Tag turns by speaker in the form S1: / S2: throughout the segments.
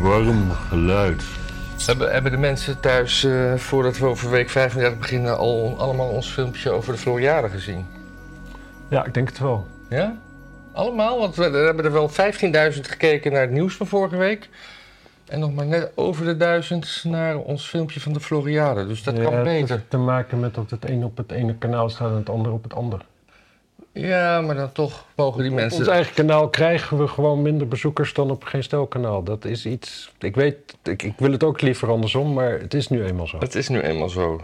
S1: warm geluid.
S2: Hebben, hebben de mensen thuis, eh, voordat we over week 35 beginnen, al allemaal ons filmpje over de Floriade gezien?
S3: Ja, ik denk het wel.
S2: Ja? Allemaal? Want we, er hebben er wel 15.000 gekeken naar het nieuws van vorige week. En nog maar net over de duizend naar ons filmpje van de Floriade. Dus dat
S3: Ja,
S2: kan
S3: het
S2: beter.
S3: heeft te maken met dat het een op het ene kanaal staat en het andere op het andere.
S2: Dus Ja, maar dan toch mogen die
S3: Op ons
S2: mensen...
S3: eigen kanaal krijgen we gewoon minder bezoekers dan op geen stelkanaal. Dat is iets. Ik weet, ik, ik wil het ook liever andersom, maar het is nu eenmaal zo.
S2: Het is nu eenmaal zo.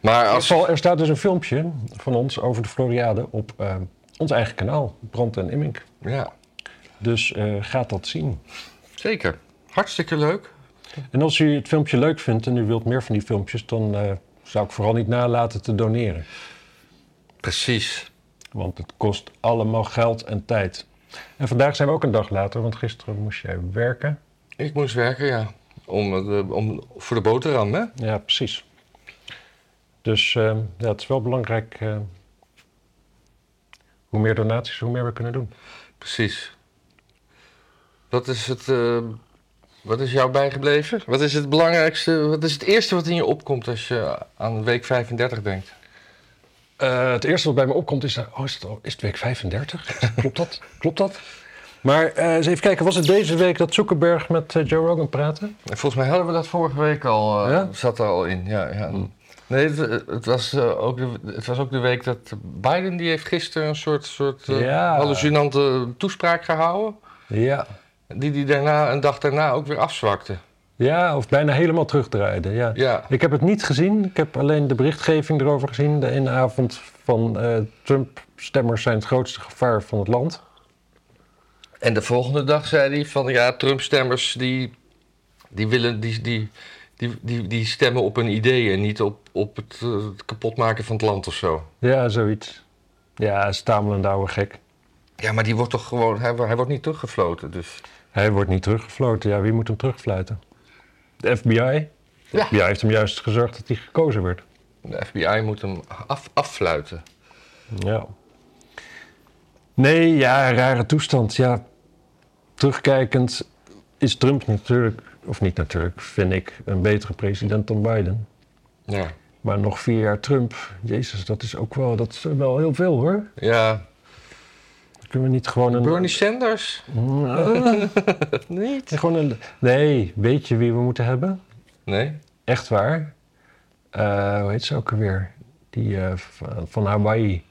S2: Maar
S3: Er
S2: als...
S3: sta- Er staat dus een filmpje van ons over de Floriade op eh, ons eigen kanaal, Brand en Immink.
S2: Ja,
S3: Dus eh gaat dat zien.
S2: zeker. Hartstikke leuk.
S3: En als u het filmpje leuk vindt en u wilt meer van die filmpjes, dan eh, zou ik vooral niet nalaten te doneren.
S2: Precies.
S3: Want het kost allemaal geld en tijd. En vandaag zijn we ook een dag later, want gisteren moest jij werken.
S2: Ik moest werken, ja. Om, eh, om, voor de boterham, hè?
S3: Ja, precies. Dus eh, ja, het is wel belangrijk. eh, hoe meer donaties, hoe meer we kunnen doen.
S2: Precies. Wat is het... eh, wat is jou bijgebleven? Wat is het belangrijkste... Wat is het eerste wat in je opkomt als je aan week 35 denkt?
S3: Eh, het eerste wat bij me opkomt is, eh, oh, is, het, al- is het week 35? Klopt dat? Klopt dat? Maar eh, eens even kijken, was het deze week dat Zuckerberg met eh, Joe Rogan praatte?
S2: En Volgens mij hadden we dat vorige week al... eh,
S3: Ja?
S2: Zat er al in, ja. ja. Nee, het, het was, eh, ook de, het was ook de week dat Biden... die heeft gisteren een soort, soort eh,
S3: Ja.
S2: hallucinante toespraak gehouden...
S3: Ja.
S2: die die daarna, een dag daarna ook weer afzwakte.
S3: Ja, of bijna helemaal terugdraaide, ja.
S2: Ja.
S3: Ik heb het niet gezien, ik heb alleen de berichtgeving erover gezien. De ene avond van eh, Trump-stemmers zijn het grootste gevaar van het land.
S2: En de volgende dag zei hij van ja, Trump-stemmers die, die willen die, die, die, die, die stemmen op hun ideeën, en niet op, op het, eh, het kapotmaken van het land of zo.
S3: Ja, zoiets. Ja, stamelend oude gek.
S2: Ja, maar die wordt toch gewoon, hij, wo- hij wordt niet teruggefloten. Dus.
S3: Hij wordt niet teruggefloten, ja, wie moet hem terugfluiten? De FBI? De
S2: Ja.
S3: FBI heeft hem juist gezorgd dat hij gekozen werd.
S2: De FBI moet hem af, affluiten.
S3: Ja. Nee, ja, rare toestand. Ja, terugkijkend is Trump natuurlijk, of niet natuurlijk, vind ik, een betere president dan Biden.
S2: Ja.
S3: Maar nog vier jaar Trump, jezus, dat is ook wel, dat is wel heel veel hoor.
S2: ja.
S3: Kunnen we niet gewoon een...
S2: Bernie Sanders?
S3: niet? Gewoon een nee, weet je wie we moeten hebben?
S2: Nee.
S3: Echt waar. Eh, hoe heet ze ook alweer? Die eh, van- van Hawaii.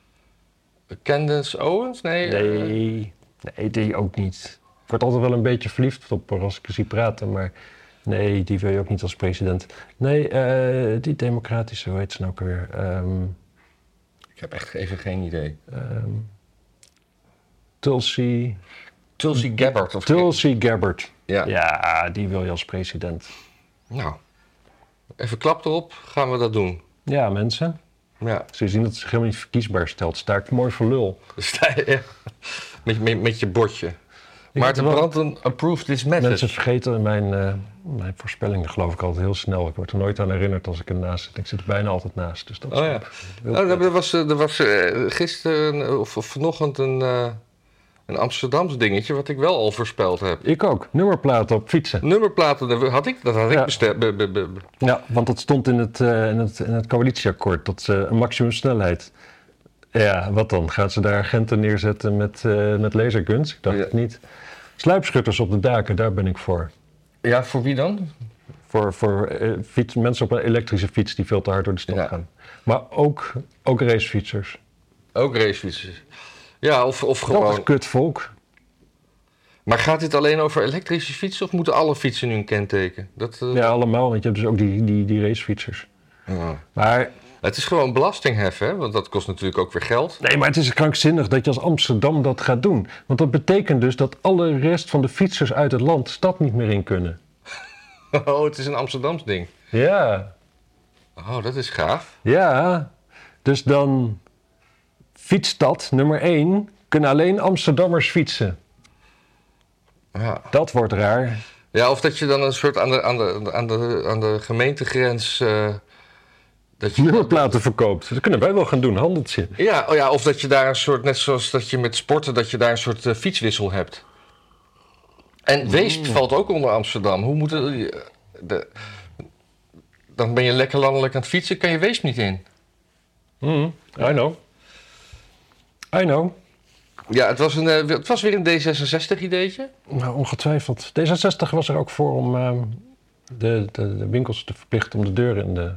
S2: Candace Owens? Nee. eh,
S3: Nee, nee, die ook niet. Ik word altijd wel een beetje verliefd op haar als ik haar zie praten, maar nee, die wil je ook niet als president. Nee, eh, die democratische, hoe heet ze nou ook alweer? Ehm,
S2: ik heb echt even geen idee.
S3: ehm, Tulsi,
S2: Tulsi Gabbard of
S3: Tulsi Gabbard.
S2: Ja.
S3: ja, die wil je als president.
S2: Nou, even klap erop, gaan we dat doen.
S3: Ja, mensen.
S2: Ja.
S3: Ze zien dat ze zich helemaal niet verkiesbaar stelt. Sta ik mooi voor lul.
S2: Sta je echt Dus met, met, met je bordje. Maarten
S3: wel-
S2: Branden approved this method.
S3: Mensen vergeten mijn, eh, mijn voorspellingen, geloof ik, altijd heel snel. Ik word er nooit aan herinnerd als ik ernaast zit. Ik zit er bijna altijd naast. Dus dat is
S2: Oh ja. Oh, er was, eh, er was eh, gisteren eh, of, of vanochtend een, eh een Amsterdams dingetje wat ik wel al voorspeld heb.
S3: Ik ook. Nummerplaten op fietsen.
S2: Nummerplaten, dat had ik, dat had ik
S3: Ja.
S2: bestemd. be- be- be- be-
S3: Ja, want dat stond in het, eh, in het, in het coalitieakkoord. Dat ze een maximumsnelheid. Ja, wat dan? Gaan ze daar agenten neerzetten met, eh, met laserguns? Ik dacht
S2: Ja.
S3: het niet. Sluipschutters op de daken, daar ben ik voor.
S2: Ja, voor wie dan?
S3: Voor, voor eh, fiets, mensen op een elektrische fiets die veel te hard door de stad
S2: Ja.
S3: gaan. Maar ook, ook racefietsers.
S2: Ook racefietsers. Ja, of, of
S3: Dat
S2: gewoon.
S3: is kut volk.
S2: Maar gaat dit alleen over elektrische fietsen of moeten alle fietsen nu een kenteken? Dat, eh,
S3: Ja, allemaal, want je hebt dus ook die, die, die racefietsers.
S2: ja.
S3: Maar
S2: Het is gewoon belastingheffen, hè? want dat kost natuurlijk ook weer geld.
S3: Nee, maar het is krankzinnig dat je als Amsterdam dat gaat doen. Want dat betekent dus dat alle rest van de fietsers uit het land de stad niet meer in kunnen.
S2: Oh, het is een Amsterdams ding.
S3: Ja,
S2: Oh, dat is gaaf.
S3: ja. Dus dan fietsstad nummer 1 kunnen alleen Amsterdammers fietsen.
S2: Ja.
S3: Dat wordt raar.
S2: ja, of dat je dan een soort aan de, aan de, aan de, aan de gemeentegrens. eh, dat je,
S3: Nummerplaten verkoopt. Dat kunnen wij wel gaan doen, handeltje.
S2: ja, oh ja, of dat je daar een soort, net zoals dat je met sporten, dat je daar een soort eh, fietswissel hebt.
S3: Mm.
S2: En Weesp valt ook onder Amsterdam. Hoe moeten die- de- dan ben je lekker landelijk aan het fietsen, kan je Weesp niet in.
S3: Mhm, I know. I know.
S2: Ja, het was, een, eh, het was weer een D66-ideetje.
S3: Nou, ongetwijfeld. D66 was er ook voor om eh, de, de, de winkels te verplichten om de deuren in de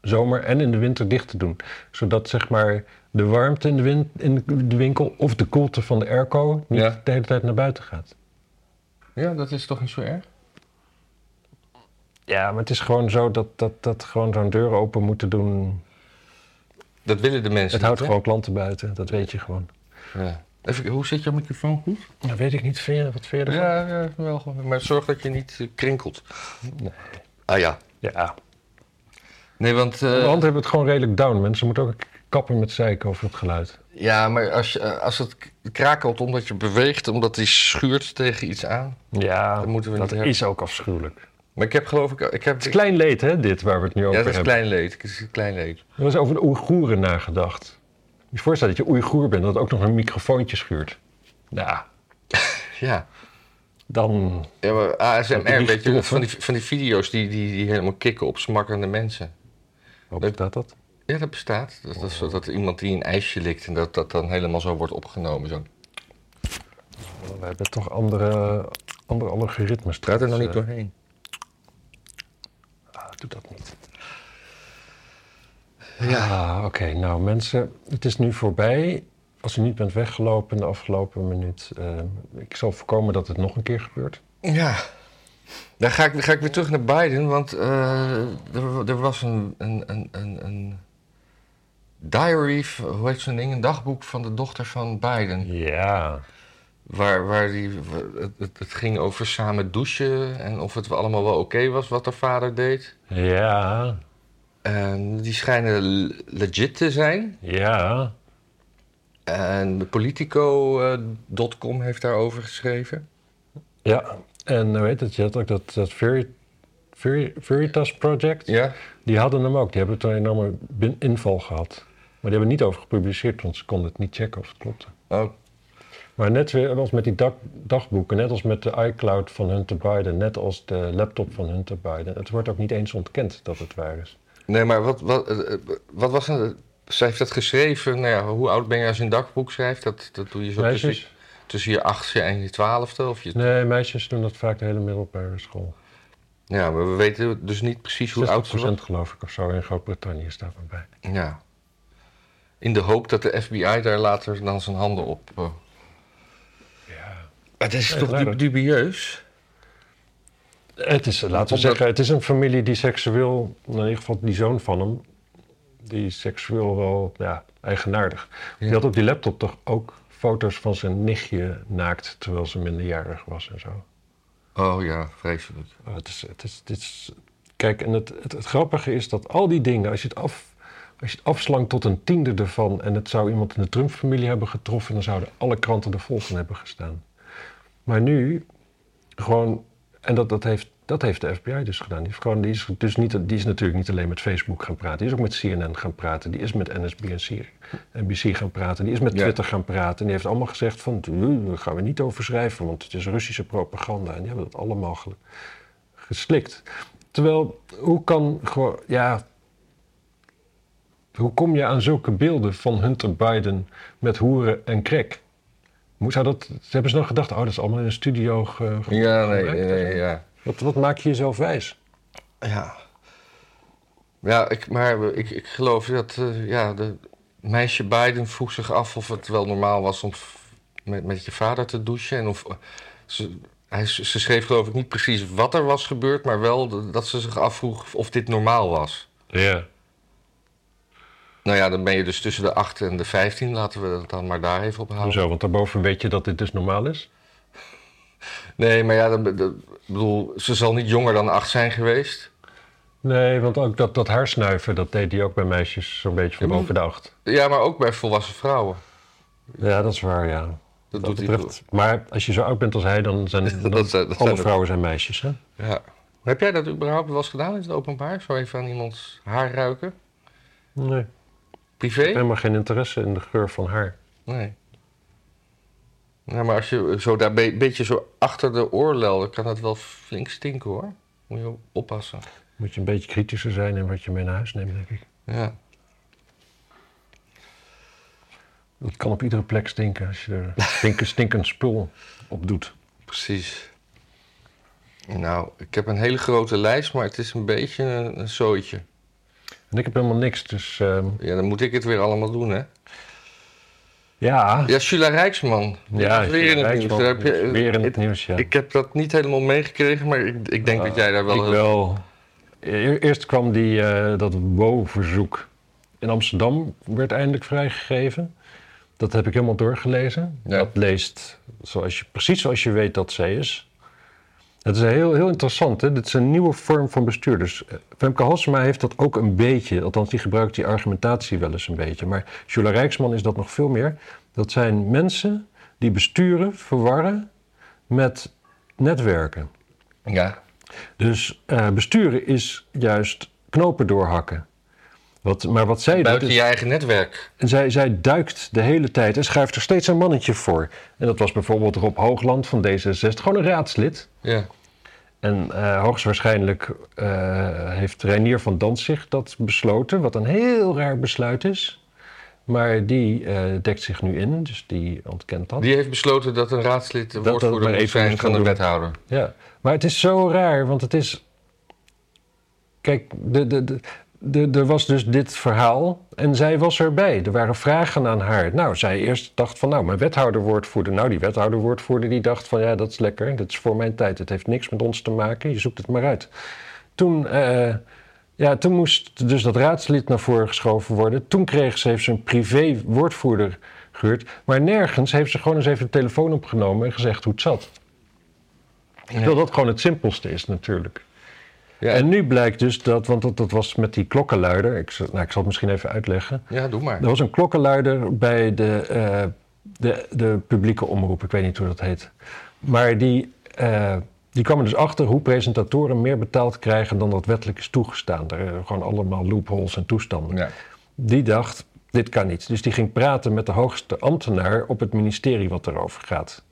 S3: zomer en in de winter dicht te doen. Zodat zeg maar de warmte in de, win- in de winkel of de koelte van de airco niet
S2: Ja.
S3: de hele tijd naar buiten gaat.
S2: Ja, dat is toch niet zo erg?
S3: Ja, maar het is gewoon zo dat, dat, dat gewoon zo'n deur open moeten doen.
S2: Dat willen de mensen.
S3: Het houdt
S2: niet, hè?
S3: gewoon klanten buiten, dat weet je gewoon.
S2: Ja. Even, hoe zit jouw microfoon goed?
S3: Nou, weet ik niet, vind je- wat vind je ervan?
S2: Ja, ja, wel gewoon. Maar zorg dat je niet eh, krinkelt. Ah ja.
S3: ja. Eh,
S2: Nee, want. eh,
S3: Aan de hand hebben we het gewoon redelijk down. Mensen moeten ook kappen met zeiken over het geluid.
S2: ja, maar als, je, eh, als het k- krakelt omdat je beweegt, omdat die schuurt tegen iets aan.
S3: Ja,
S2: Dat moeten we
S3: dat
S2: niet hebben.
S3: is ook afschuwelijk.
S2: Maar ik heb geloof ik. Ik heb,
S3: Het is klein leed, hè, dit waar we het nu
S2: ja,
S3: over
S2: dat is
S3: hebben.
S2: klein leed. Het is klein leed.
S3: Er was over de Oeigoeren nagedacht. Moet Je voorstellen dat je Oeigoer bent, dat ook nog een microfoontje schuurt. Nou,
S2: Ja.
S3: dan...
S2: ja maar
S3: Dat is
S2: ASMR,
S3: niet
S2: weet je,
S3: tof,
S2: van
S3: hè?
S2: die, van die video's die, die, die helemaal kicken op smakkende mensen.
S3: Hoop
S2: Leuk.
S3: dat dat?
S2: Ja, dat bestaat. Dat, dat, is zo dat iemand die een ijsje likt en dat dat dan helemaal zo wordt opgenomen. Zo.
S3: We hebben toch andere, andere algoritmes.
S2: Gaat er
S3: nog
S2: nog niet doorheen.
S3: Eh, doe dat niet.
S2: Ja.
S3: Ah, oké. Nou, mensen, het is nu voorbij. Als u niet bent weggelopen in de afgelopen minuut... eh, ik zal voorkomen dat het nog een keer gebeurt.
S2: Ja. Dan ga ik, ga ik weer terug naar Biden, want eh, er, er was een, een, een, een, een diary, v- hoe heet zo'n ding, een dagboek van de dochter van Biden.
S3: Ja.
S2: Waar, waar die, w- het, het- het ging over samen douchen en of het allemaal wel oké was wat haar vader deed.
S3: Ja.
S2: En die schijnen le- legit te zijn.
S3: Ja.
S2: En Politico.com heeft daarover geschreven.
S3: Ja. En hoe heet het? Je had ook dat, dat Veri- Veri- Veritas Project.
S2: Ja,
S3: Die hadden hem ook. Die hebben toen een enorme bin- inval gehad. Maar die hebben er niet over gepubliceerd, want ze konden het niet checken of het klopte.
S2: oh,
S3: Maar net weer als met die dag- dagboeken, net als met de iCloud van Hunter Biden, net als de laptop van Hunter Biden. Het wordt ook niet eens ontkend dat het waar is.
S2: Nee, maar wat, wat, eh, eh, wat was het? Zij heeft dat geschreven. Nou ja, hoe oud ben je als je een dagboek schrijft? Dat, dat doe je zo tussen,
S3: Meisjes?
S2: tussen je achtste en je twaalfde. Of je,
S3: Nee, meisjes doen dat vaak de hele middelbare school.
S2: ja, maar we weten dus niet precies hoe oud ze was.
S3: 60% geloof ik of zo in Groot-Brittannië staat maar bij.
S2: Ja. In de hoop dat de FBI daar later dan zijn handen op... eh.
S3: Ja.
S2: Het is
S3: Nee,
S2: toch
S3: duidelijk.
S2: du- dubieus?
S3: Het is, eh, laten we
S2: Omdat-
S3: zeggen, het is een familie die seksueel, in ieder geval die zoon van hem, die is seksueel wel ja, eigenaardig. Die
S2: Ja.
S3: had op die laptop toch ook foto's van zijn nichtje naakt terwijl ze minderjarig was en zo.
S2: Oh ja, vreselijk.
S3: Oh, het is, het is, het is, kijk, en het, het, het grappige is dat al die dingen, als je het af. Als je het afslankt tot een tiende ervan en het zou iemand in de Trump-familie hebben getroffen, dan zouden alle kranten er vol van hebben gestaan. Maar nu, gewoon, en dat, dat, heeft, dat heeft de FBI dus gedaan. Die, heeft gewoon, die, is dus niet, die is natuurlijk niet alleen met Facebook gaan praten, die is ook met CNN gaan praten, die is met NSB en Syrië- NBC gaan praten, die is met
S2: Ja.
S3: Twitter gaan praten. En die heeft allemaal gezegd van, "Duh, daar gaan we niet over schrijven, want het is Russische propaganda. En die hebben dat allemaal ge- geslikt. Terwijl, hoe kan gewoon, ja, hoe kom je aan zulke beelden van Hunter Biden met hoeren en crack? Moet, zou dat, ze hebben ze dan gedacht, oh, dat is allemaal in een studio ge, ge-
S2: Ja, nee,
S3: Gewerkt,
S2: nee,
S3: hè,
S2: nee,
S3: zo?
S2: ja.
S3: wat, wat maak je jezelf wijs?
S2: Ja. Ja, ik, maar ik, ik geloof dat eh, ja, de meisje Biden vroeg zich af of het wel normaal was om f- met, met je vader te douchen. En of, eh, ze, hij, ze schreef geloof ik niet precies wat er was gebeurd, maar wel de- dat ze zich afvroeg of dit normaal was.
S3: Ja.
S2: Nou ja, dan ben je dus tussen de 8 en de 15, laten we dat dan maar daar even op houden.
S3: Hoezo? Want daarboven weet je dat dit dus normaal is?
S2: Nee, maar ja, dan, be- dat- ik bedoel, ze zal niet jonger dan 8 zijn geweest.
S3: Nee, want ook dat, dat haarsnuiven, dat deed hij ook bij meisjes zo'n beetje van
S2: Ja, maar-
S3: boven de acht.
S2: Ja, maar ook bij volwassen vrouwen.
S3: Ja, dat is waar, ja.
S2: Dat,
S3: Wat
S2: doet
S3: dat
S2: hij
S3: betreft. Maar als je zo oud bent als hij, dan zijn dan
S2: Dat zijn- dat zijn
S3: alle
S2: er-
S3: vrouwen zijn meisjes, hè?
S2: Ja. Heb jij dat überhaupt wel eens gedaan in het openbaar? Zo even aan iemands haar ruiken?
S3: Nee. Ik heb
S2: Privé?
S3: helemaal geen interesse in de geur van haar.
S2: Nee. Ja, maar als je zo daar een beetje zo achter de oorlel, dan kan dat wel flink stinken hoor. Moet je oppassen.
S3: Moet je een beetje kritischer zijn in wat je mee naar huis neemt, denk ik.
S2: Ja.
S3: Het kan op iedere plek stinken als je er stinken, stinkend spul op doet.
S2: Precies. Nou, ik heb een hele grote lijst, maar het is een beetje een, een zooitje.
S3: En ik heb helemaal niks, dus ehm,
S2: Ja, dan moet ik het weer allemaal doen, hè?
S3: ja.
S2: Ja, Sula Rijksman. Dat is weer in het nieuws.
S3: Rijksman,
S2: Daar heb je- eh,
S3: weer in het nieuws, ja.
S2: Ik heb dat niet helemaal meegekregen, maar ik, ik denk dat jij daar wel... eh,
S3: Ik wel. E- Eerst kwam die, eh, dat WO-verzoek in Amsterdam, werd eindelijk vrijgegeven. Dat heb ik helemaal doorgelezen.
S2: Ja.
S3: Dat leest zoals je, precies zoals je weet dat zij is. Het is heel, heel interessant. Hè? Dit is een nieuwe vorm van bestuurders. Eh, Femke Halsema heeft dat ook een beetje. Althans, die gebruikt die argumentatie wel eens een beetje. Maar Jula Rijksman is dat nog veel meer. Dat zijn mensen die besturen verwarren met netwerken.
S2: Ja,
S3: Dus eh, besturen is juist knopen doorhakken. Wat, maar wat zij doet,
S2: buiten
S3: is,
S2: je eigen netwerk.
S3: zij, zij duikt de hele tijd en schuift er steeds een mannetje voor. En dat was bijvoorbeeld Rob Hoogland van D66, gewoon een raadslid.
S2: Ja.
S3: En eh, hoogstwaarschijnlijk eh, heeft Reinier van Dantzig dat besloten, wat een heel raar besluit is. Maar die eh, dekt zich nu in, dus die ontkent dat.
S2: Die heeft besloten dat een raadslid de
S3: dat maar
S2: woordvoerder moet
S3: even
S2: zijn
S3: moest
S2: van de
S3: gaan doen.
S2: wethouder.
S3: Ja, maar het is zo raar, want het is. Kijk, de, de, de, de, er was dus dit verhaal en zij was erbij. Er waren vragen aan haar. Nou, zij eerst dacht van, nou, mijn wethouder-woordvoerder. Nou, die wethouder-woordvoerder die dacht van, ja, dat is lekker. Dat is voor mijn tijd. Het heeft niks met ons te maken. Je zoekt het maar uit. Toen, eh, ja, toen moest dus dat raadslid naar voren geschoven worden. Toen kreeg ze, heeft ze een privé-woordvoerder gehuurd. Maar nergens heeft ze gewoon eens even de telefoon opgenomen en gezegd hoe het zat. Terwijl dat gewoon het simpelste is natuurlijk.
S2: Ja.
S3: En nu blijkt dus dat, want dat, dat was met die klokkenluider. Ik, zal- nou, ik zal het misschien even uitleggen.
S2: Ja, doe maar.
S3: Er was een klokkenluider bij de, eh, de, de publieke omroep. Ik weet niet hoe dat heet. Maar die, eh, die kwam er dus achter hoe presentatoren meer betaald krijgen dan dat wettelijk is toegestaan. Er eh, gewoon allemaal loopholes en toestanden.
S2: Ja.
S3: Die dacht, dit kan niet. Dus die ging praten met de hoogste ambtenaar op het ministerie wat erover gaat.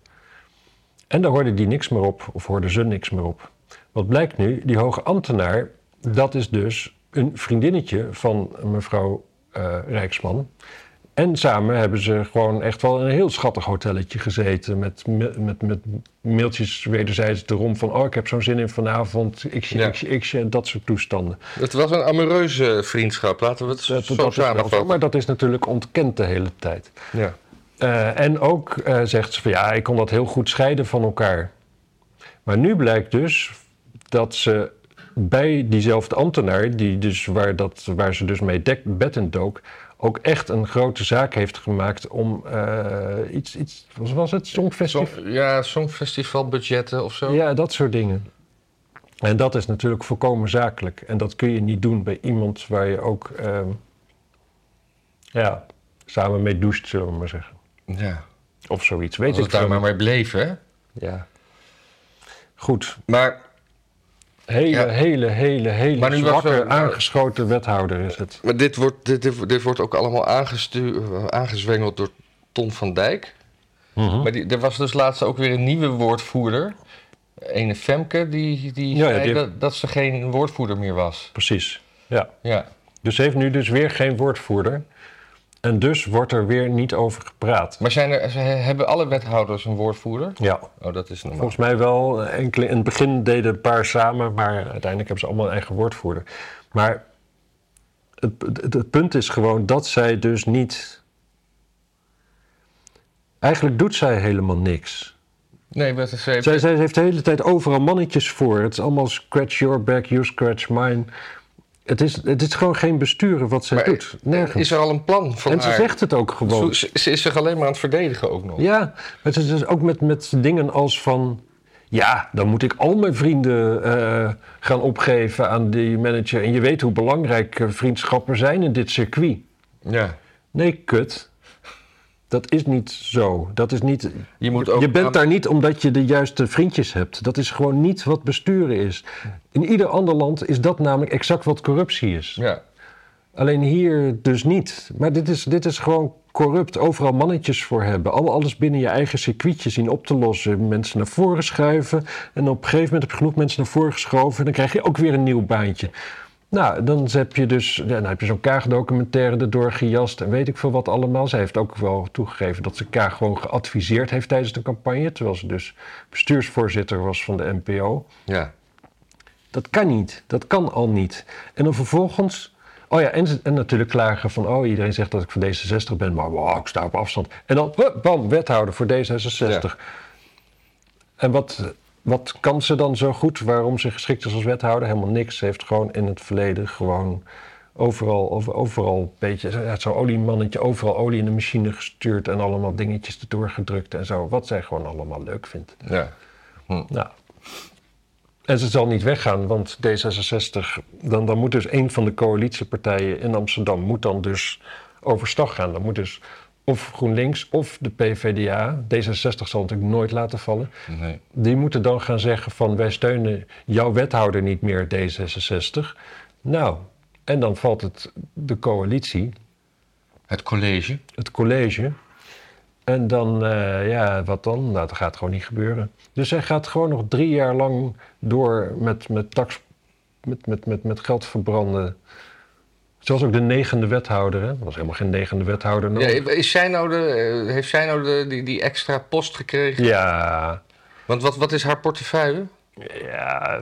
S3: En daar hoorde die niks meer op, of hoorde ze niks meer op. Wat blijkt nu? Die hoge ambtenaar, dat is dus een vriendinnetje van mevrouw eh, Rijksman. En samen hebben ze gewoon echt wel in een heel schattig hotelletje gezeten. Met, me- met, met mailtjes wederzijds erom van... oh, ik heb zo'n zin in vanavond, ik
S2: Ja.
S3: ik ik en dat soort toestanden.
S2: Het was een amoureuze vriendschap, laten we het
S3: Dat- dat
S2: zo
S3: eh, is wel zo,
S2: samenvatten.
S3: maar dat is natuurlijk ontkend de hele tijd.
S2: Ja.
S3: Eh, en ook eh, zegt ze van ja, ik kon dat heel goed scheiden van elkaar. Maar nu blijkt dus dat ze bij diezelfde ambtenaar, die dus waar, dat, waar ze dus mee dek, bed en dook, ook echt een grote zaak heeft gemaakt om eh, iets, iets, wat was het, songfestival?
S2: Song, ja, songfestivalbudgetten of zo.
S3: Ja, dat soort dingen. En dat is natuurlijk volkomen zakelijk. En dat kun je niet doen bij iemand waar je ook ehm, ja, samen mee doucht, zullen we maar zeggen.
S2: Ja.
S3: Of zoiets, weet
S2: Als het
S3: ik veel.
S2: daar maar mee bleef, hè?
S3: Ja. Goed,
S2: Maar,
S3: hele,
S2: Ja.
S3: hele, hele, hele
S2: Maar nu was
S3: zwakke,
S2: er-
S3: aangeschoten wethouder is het.
S2: maar dit, wordt, dit, dit, dit wordt ook allemaal aangestu- aangezwengeld door Ton van Dijk.
S3: Mhm.
S2: Maar die, er was dus laatst ook weer een nieuwe woordvoerder. Ene Femke, die, die
S3: Ja, ja,
S2: zei
S3: die-
S2: dat, dat ze geen woordvoerder meer was.
S3: Precies, ja.
S2: Ja.
S3: Dus ze heeft nu dus weer geen woordvoerder. En dus wordt er weer niet over gepraat.
S2: Maar zijn er, ze- hebben alle wethouders een woordvoerder?
S3: Ja,
S2: Oh, dat is normaal.
S3: Volgens mij wel. Eh, Enkele, in het begin deden een paar samen, maar uiteindelijk hebben ze allemaal een eigen woordvoerder. Maar het, het, het punt is gewoon dat zij dus niet. Eigenlijk doet zij helemaal niks.
S2: Nee, maar ze heeft...
S3: Zij, zij heeft de hele tijd overal mannetjes voor. Het is allemaal scratch your back, you scratch mine. Het is, het is gewoon geen besturen wat zij
S2: Maar
S3: doet. Nergens.
S2: Is er al een plan van
S3: en ze
S2: haar?
S3: zegt het ook gewoon.
S2: Zo- ze, ze is zich alleen maar aan het verdedigen ook nog.
S3: Ja, maar het is dus ook met, met dingen als van... Ja, dan moet ik al mijn vrienden eh, gaan opgeven aan die manager. En je weet hoe belangrijk eh, vriendschappen zijn in dit circuit.
S2: Ja.
S3: Nee, kut. Dat is niet zo. Dat is niet,
S2: Je moet ook
S3: je bent
S2: aan-
S3: daar niet omdat je de juiste vriendjes hebt. Dat is gewoon niet wat besturen is. In ieder ander land is dat namelijk exact wat corruptie is.
S2: Ja.
S3: Alleen hier dus niet. Maar dit is, dit is gewoon corrupt, overal mannetjes voor hebben. Al- Alles binnen je eigen circuitje zien op te lossen. Mensen naar voren schuiven. En op een gegeven moment heb je genoeg mensen naar voren geschoven. En dan krijg je ook weer een nieuw baantje. Nou, dan heb je dus ja, dan heb je zo'n Kaag-documentaire erdoor gejast en weet ik veel wat allemaal. Zij heeft ook wel toegegeven dat ze Kaag gewoon geadviseerd heeft tijdens de campagne. Terwijl ze dus bestuursvoorzitter was van de NPO.
S2: Ja.
S3: Dat kan niet. Dat kan al niet. En dan vervolgens. Oh ja, en, ze- en natuurlijk klagen van. Oh, iedereen zegt dat ik van D66 ben, maar wow, ik sta op afstand. En dan, hup, bam, wethouder voor D66.
S2: Ja.
S3: En wat, wat kan ze dan zo goed? Waarom ze geschikt is als wethouder? Helemaal niks. Ze heeft gewoon in het verleden gewoon overal, over, overal een beetje. ze- ja, Zo'n oliemannetje, overal olie in de machine gestuurd en allemaal dingetjes erdoor gedrukt en zo. Wat zij gewoon allemaal leuk vindt.
S2: ja.
S3: Nou. En ze zal niet weggaan, want D66, dan, dan moet dus een van de coalitiepartijen in Amsterdam moet dan dus overstag gaan. Dan moet dus of GroenLinks of de PVDA, D66 zal natuurlijk nooit laten vallen,
S2: Nee.
S3: die moeten dan gaan zeggen van wij steunen jouw wethouder niet meer D66. Nou, en dan valt het de coalitie,
S2: Het college.
S3: het college. En dan, eh, ja, wat dan? Nou, dat gaat gewoon niet gebeuren. Dus hij gaat gewoon nog drie jaar lang door met, met, tax, met, met, met, met geld verbranden. Zoals ook de negende wethouder, hè? Er was helemaal geen negende wethouder
S2: Ja,
S3: nodig.
S2: is zij nou de, eh, heeft zij nou de, die, die extra post gekregen?
S3: Ja,
S2: Want wat, wat is haar portefeuille?
S3: ja,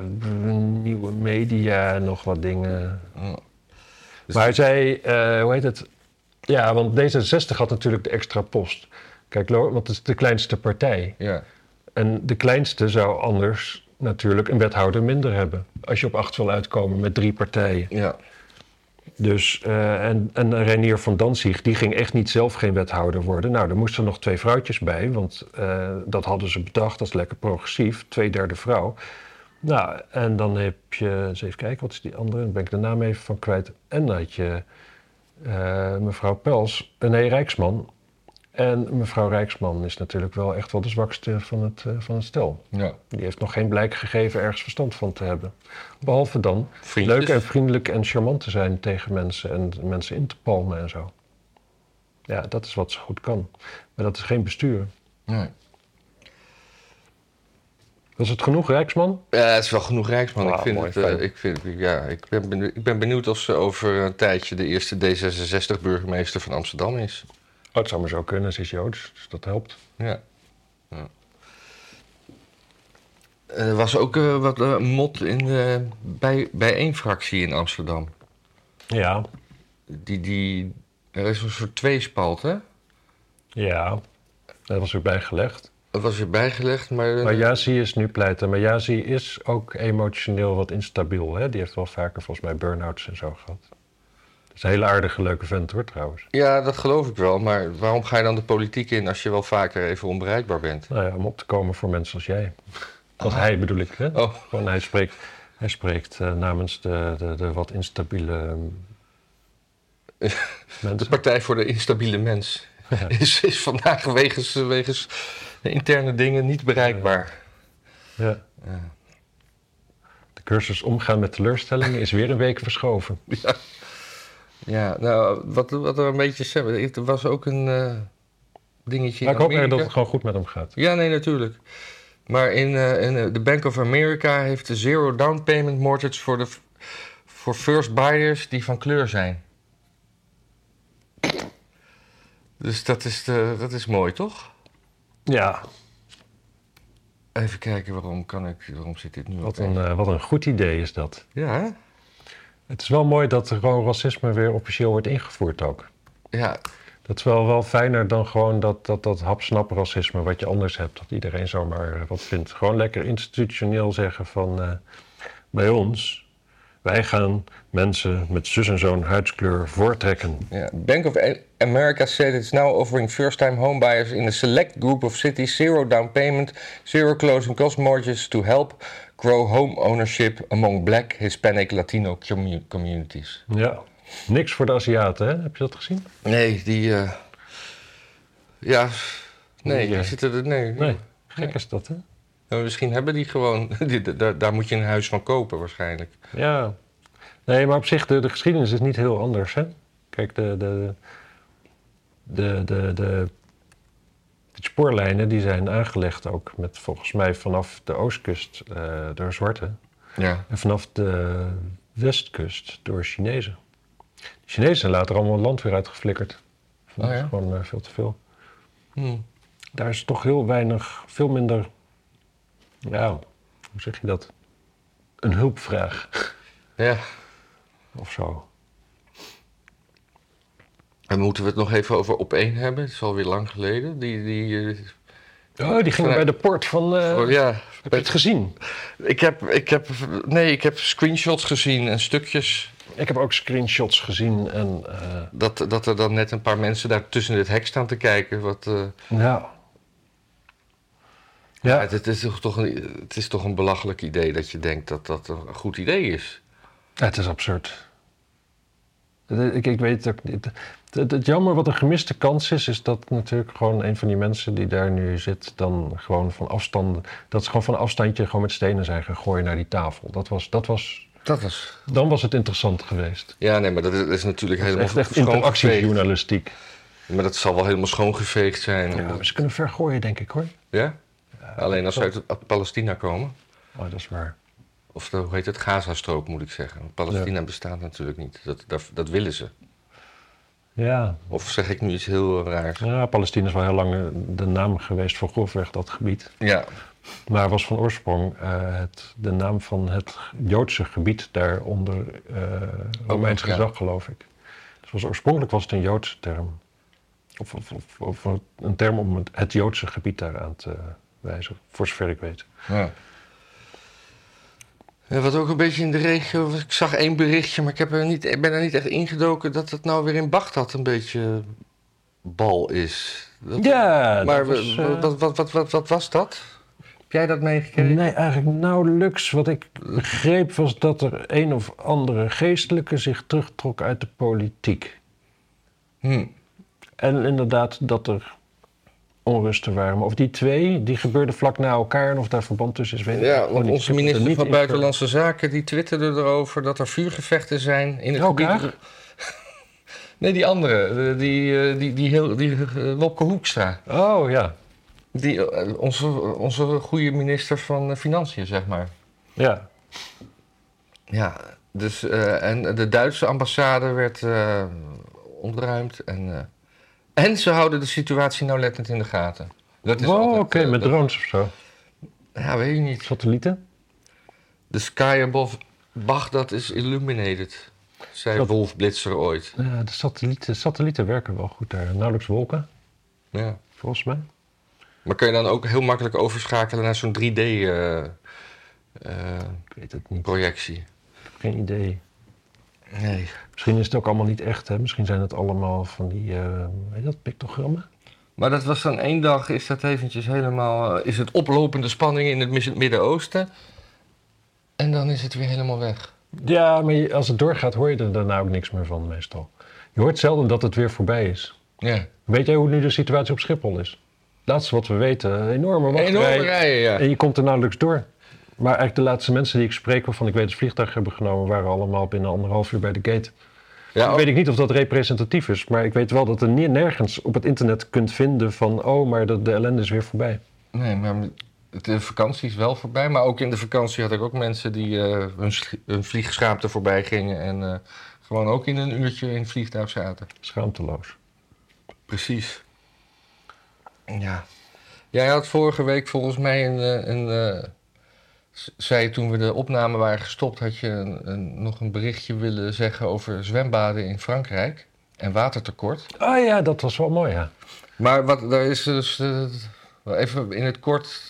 S3: nieuwe media, nog wat dingen.
S2: Oh. Dus-
S3: maar zij, eh, hoe heet het? Ja, want D66 had natuurlijk de extra post. Kijk, Lo- want het is de kleinste partij.
S2: Ja.
S3: En de kleinste zou anders natuurlijk een wethouder minder hebben. Als je op acht wil uitkomen met drie partijen.
S2: ja.
S3: Dus, eh, en, en Reinier van Danzig, die ging echt niet zelf geen wethouder worden. Nou, er moesten nog twee vrouwtjes bij, want eh, dat hadden ze bedacht. Dat is lekker progressief, twee derde vrouw. Nou, en dan heb je, eens even kijken, wat is die andere? Dan ben ik de naam even van kwijt. En dan had je eh, mevrouw Pels, eh, nee, Rijksman. En mevrouw Rijksman is natuurlijk wel echt wel de zwakste van het, eh, van het stel.
S2: ja.
S3: Die heeft nog geen blijk gegeven ergens verstand van te hebben. Behalve dan
S2: Vriendjes.
S3: leuk en vriendelijk en charmant te zijn tegen mensen en mensen in te palmen en zo. Ja, dat is wat ze goed kan. Maar dat is geen bestuur.
S2: Nee.
S3: Was het genoeg, Rijksman?
S2: Ja, het is wel genoeg Rijksman.
S3: Wauw,
S2: ik, vind
S3: mooi,
S2: het, eh,
S3: fijn.
S2: ik, vind, ja, ik, ben benieuwd, ik ben benieuwd of ze over een tijdje de eerste D66-burgemeester van Amsterdam is.
S3: Oh, het zou maar zo kunnen, ze is Joods, dus dat helpt.
S2: Ja. ja. Er was ook eh, wat eh, mot in, eh, bij, bij één fractie in Amsterdam.
S3: Ja,
S2: Die, die, er is een soort tweespalt, hè?
S3: ja. Dat was ook bijgelegd.
S2: Dat was weer bijgelegd, maar... eh,
S3: Maar Yazi is nu pleiten. Maar Yazi is ook emotioneel wat instabiel. Hè? Die heeft wel vaker volgens mij burn-outs en zo gehad. Dat is een hele aardige, leuke vent hoor, trouwens.
S2: Ja, dat geloof ik wel. Maar waarom ga je dan de politiek in als je wel vaker even onbereikbaar bent?
S3: Nou ja, om op te komen voor mensen als jij. Als hij bedoel ik. Hè?
S2: Oh,
S3: Gewoon, hij spreekt, hij spreekt eh, namens de, de, de wat instabiele ehm,
S2: de
S3: mensen.
S2: Partij voor de Instabiele Mens is, is vandaag wegens, wegens interne dingen niet bereikbaar.
S3: Ja.
S2: Ja.
S3: De cursus omgaan met teleurstellingen is weer een week verschoven.
S2: Ja, nou, wat, wat er een beetje... ze- Er was ook een eh, dingetje in
S3: Maar ik hoop erg
S2: Amerika.
S3: dat het gewoon goed met hem gaat.
S2: Ja, nee, natuurlijk. Maar in, eh, in eh, de Bank of America heeft de zero down payment mortgage voor, de, f- voor first buyers die van kleur zijn. Dus dat is, de, dat is mooi, toch?
S3: Ja,
S2: Even kijken, waarom, kan ik, waarom zit dit nu
S3: wat
S2: op?
S3: een, eh, wat een goed idee is dat.
S2: Ja, hè?
S3: Het is wel mooi dat er gewoon racisme weer officieel wordt ingevoerd ook.
S2: Ja,
S3: Dat is wel, wel fijner dan gewoon dat, dat, dat hapsnap racisme wat je anders hebt. Dat iedereen zomaar eh, wat vindt. Gewoon lekker institutioneel zeggen van... eh, bij ons, wij gaan mensen met zus en zo'n huidskleur voortrekken.
S2: Yeah. Bank of A- America said it's now offering first-time home buyers in a select group of cities zero down payment, zero closing cost mortgages to help grow home ownership among black, Hispanic, Latino commu- communities.
S3: Ja, niks voor de Aziaten, hè? Heb je dat gezien?
S2: Nee, die... eh, ja, nee,
S3: Die, eh,
S2: die zitten er... Nee.
S3: Nee, gek is dat, hè?
S2: Nou, misschien hebben die gewoon... die- daar, daar moet je een huis van kopen waarschijnlijk.
S3: Ja. Nee, maar op zich, de, de geschiedenis is niet heel anders, hè? Kijk, de, de, de, de, de, de spoorlijnen die zijn aangelegd ook met volgens mij vanaf de oostkust eh, door Zwarte
S2: Ja.
S3: en vanaf de westkust door Chinezen. De Chinezen zijn later allemaal het land weer uitgeflikkerd. Dat
S2: Oh ja?
S3: is gewoon eh, veel te veel.
S2: Hm.
S3: Daar is toch heel weinig, veel minder, ja, hoe zeg je dat? Een hulpvraag
S2: Ja.
S3: of zo.
S2: En moeten we het nog even over op één hebben? Het is alweer lang geleden. Die, die, eh,
S3: Oh, die gingen bij de poort van. eh,
S2: oh, ja.
S3: Heb je het gezien?
S2: Ik heb, ik heb, nee, ik heb screenshots gezien en stukjes.
S3: Ik heb ook screenshots gezien en eh,
S2: Dat, dat er dan net een paar mensen daar tussen het hek staan te kijken. Wat, eh,
S3: ja. Ja,
S2: het, het is toch- toch een, het is toch een belachelijk idee dat je denkt dat dat een goed idee is.
S3: het is absurd. Het- Ik, ik weet het ook niet. Het, het- het jammer wat een gemiste kans is, is dat natuurlijk gewoon een van die mensen die daar nu zit, dan gewoon van afstand, dat ze gewoon van afstandje gewoon met stenen zijn gaan gooien naar die tafel. Dat was, dat was,
S2: Dat was...
S3: dan was het interessant geweest.
S2: Ja, nee, maar dat is, dat is natuurlijk
S3: Het is
S2: helemaal
S3: echt, echt
S2: schoongeveegd.
S3: interactiejournalistiek.
S2: Maar dat zal wel helemaal schoongeveegd zijn.
S3: Ja,
S2: Ja?
S3: maar ze kunnen ver gooien, denk ik hoor.
S2: Alleen als ze uit, uit Palestina komen.
S3: Oh, dat is waar.
S2: Of de- hoe heet het? Gazastrook moet ik zeggen. Want Palestina bestaat natuurlijk niet. Dat, dat, dat willen ze.
S3: Ja,
S2: Of zeg ik nu iets heel eh, raars?
S3: Ja, Palestina is wel heel lang eh, de naam geweest voor grofweg dat gebied.
S2: Ja.
S3: Maar was van oorsprong eh, het, de naam van het Joodse gebied daar onder eh Romeins
S2: nog, ja.
S3: gezag, geloof ik. Dus was, oorspronkelijk was het een Joodse term. Of, of, of, of een term om het, het Joodse gebied daaraan te wijzen, voor zover ik weet.
S2: Ja. Ja, wat ook een beetje in de regio. was, Ik zag één berichtje, maar ik heb er niet, ik ben er niet echt ingedoken dat het nou weer in Bagdad een beetje bal is. Dat-
S3: Ja,
S2: maar
S3: dat
S2: we-
S3: is,
S2: we-
S3: eh,
S2: wat, wat, wat, wat, wat was dat? Heb jij dat meegekregen?
S3: Nee, eigenlijk nauwelijks. Wat ik begreep was dat er een of andere geestelijke zich terugtrok uit de politiek.
S2: Hm.
S3: En inderdaad dat er onrusten waren. Maar of die twee, die gebeurden vlak na elkaar en of daar verband tussen Oh, is, weet ik
S2: Ja,
S3: gewoon
S2: want
S3: niet.
S2: onze
S3: Ik heb het er
S2: minister
S3: niet
S2: van
S3: in ver-
S2: Buitenlandse Zaken die twitterde erover dat er vuurgevechten zijn in het
S3: Elkaar?
S2: gebied. Nee, die andere, eh, die, eh, die, die, heel, die eh, Wopke Hoekstra.
S3: Oh ja,
S2: Die, eh, onze, onze goede minister van eh, Financiën, zeg maar.
S3: ja.
S2: Ja, dus, eh, en de Duitse ambassade werd eh, ontruimd. En, eh, en ze houden de situatie nauwlettend in de gaten. Dat is
S3: Wow, Oh, oké,
S2: altijd, eh,
S3: met
S2: dat-
S3: drones of zo.
S2: Ja, weet je niet.
S3: Satellieten?
S2: The sky above Baghdad is illuminated, zei
S3: Dat-
S2: Wolf Blitzer ooit.
S3: Ja, de satellieten, satellieten werken wel goed daar. Nauwelijks wolken,
S2: Ja.
S3: volgens mij.
S2: Maar kun je dan ook heel makkelijk overschakelen naar zo'n eh, 3D-projectie? eh,
S3: Ik weet het niet, geen idee.
S2: nee.
S3: Misschien is het ook allemaal niet echt, hè. Misschien zijn het allemaal van die, eh hoe heet dat, pictogrammen?
S2: Maar dat was dan één dag, is dat eventjes helemaal... eh, is het oplopende spanning in het mis- Midden-Oosten. En dan is het weer helemaal weg.
S3: Ja, maar je- als het doorgaat hoor je er daarna ook niks meer van meestal. Je hoort zelden dat het weer voorbij is.
S2: Ja.
S3: Weet jij hoe nu de situatie op Schiphol is? Dat is wat we weten. Een Enorme wachtrij.
S2: Enorme rijen, ja.
S3: En je komt er nauwelijks door. Maar eigenlijk de laatste mensen die ik spreek, waarvan ik weet dat ze vliegtuig hebben genomen, waren allemaal binnen anderhalf uur bij de gate.
S2: Ja,
S3: Weet ik niet of dat representatief is, maar ik weet wel dat er ni- nergens op het internet kunt vinden van, oh, maar de, de ellende is weer voorbij.
S2: Nee, maar de vakantie is wel voorbij. Maar ook in de vakantie had ik ook mensen die eh, hun, schi- hun vliegschaap er voorbij gingen. En eh, gewoon ook in een uurtje in het vliegtuig zaten.
S3: Schaamteloos.
S2: Precies. Ja. Jij had vorige week volgens mij een... eh, een eh, z- zei je toen we de opname waren gestopt, had je een, een- nog een berichtje willen zeggen over zwembaden in Frankrijk en watertekort.
S3: Ah ja, dat was wel mooi, ja.
S2: Maar wat, daar is dus, eh, even in het kort,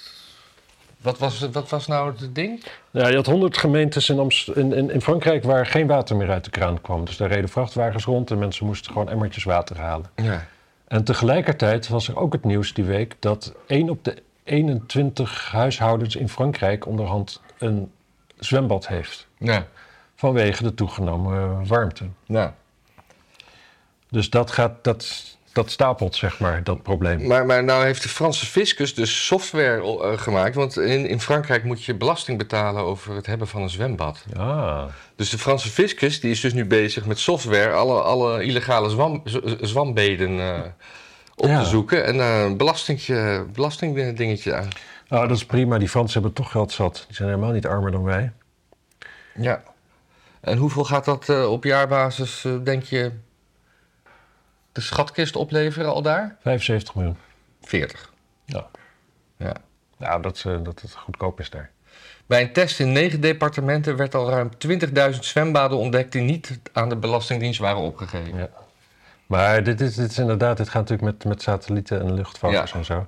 S2: wat was, het- wat was nou het ding?
S3: Ja, je had honderd gemeentes in, Amst- in, in, in Frankrijk waar geen water meer uit de kraan kwam. Dus daar reden vrachtwagens rond en mensen moesten gewoon emmertjes water halen.
S2: Ja.
S3: En tegelijkertijd was er ook het nieuws die week dat 1 op de 21 huishoudens in Frankrijk onderhand een zwembad heeft.
S2: Ja.
S3: Vanwege de toegenomen eh, warmte.
S2: Ja.
S3: Dus dat gaat, dat, dat stapelt, zeg maar, dat probleem.
S2: Maar, maar nou heeft de Franse fiscus dus software eh, gemaakt. Want in, in Frankrijk moet je belasting betalen over het hebben van een zwembad.
S3: Ah,
S2: Dus de Franse fiscus die is dus nu bezig met software alle, alle illegale zwam, z- z- zwambeden eh, op
S3: Ja.
S2: te zoeken. En eh, een belastingje, belastingdingetje aan.
S3: nou, dat is prima. Die Fransen hebben toch geld zat. Die zijn helemaal niet armer dan wij.
S2: Ja. En hoeveel gaat dat eh, op jaarbasis, eh, denk je, de schatkist opleveren al daar?
S3: 75 miljoen.
S2: 40.
S3: Ja.
S2: Ja.
S3: Nou, dat, eh, dat het goedkoop is daar.
S2: Bij een test in negen departementen werd al ruim 20.000 zwembaden ontdekt die niet aan de Belastingdienst waren opgegeven.
S3: Ja. Maar dit is, dit is inderdaad, dit gaat natuurlijk met, met satellieten en luchtvakkers
S2: Ja.
S3: en zo.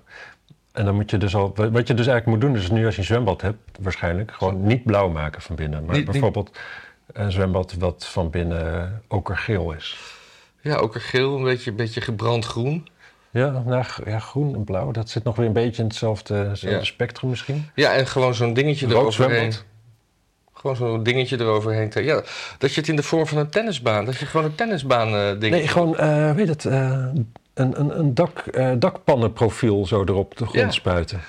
S3: En dan moet je dus al, wat je dus eigenlijk moet doen, is nu als je een zwembad hebt, waarschijnlijk gewoon niet blauw maken van binnen. Maar
S2: Niet- niet-
S3: bijvoorbeeld een zwembad wat van binnen okergeel is.
S2: Ja, ook een geel, een beetje, beetje gebrand groen.
S3: Ja, nou, g- ja, groen en blauw, dat zit nog weer een beetje in hetzelfde, hetzelfde
S2: Ja.
S3: spectrum misschien.
S2: Ja, en gewoon zo'n dingetje
S3: Rood
S2: eroverheen.
S3: zwembad.
S2: Gewoon zo'n dingetje eroverheen. te- Ja, dat je het in de vorm van een tennisbaan, dat je gewoon een tennisbaan eh ding.
S3: Nee, gewoon, eh, weet het, eh, een, een, een dak, eh, dakpannenprofiel zo erop de grond
S2: Ja.
S3: spuiten.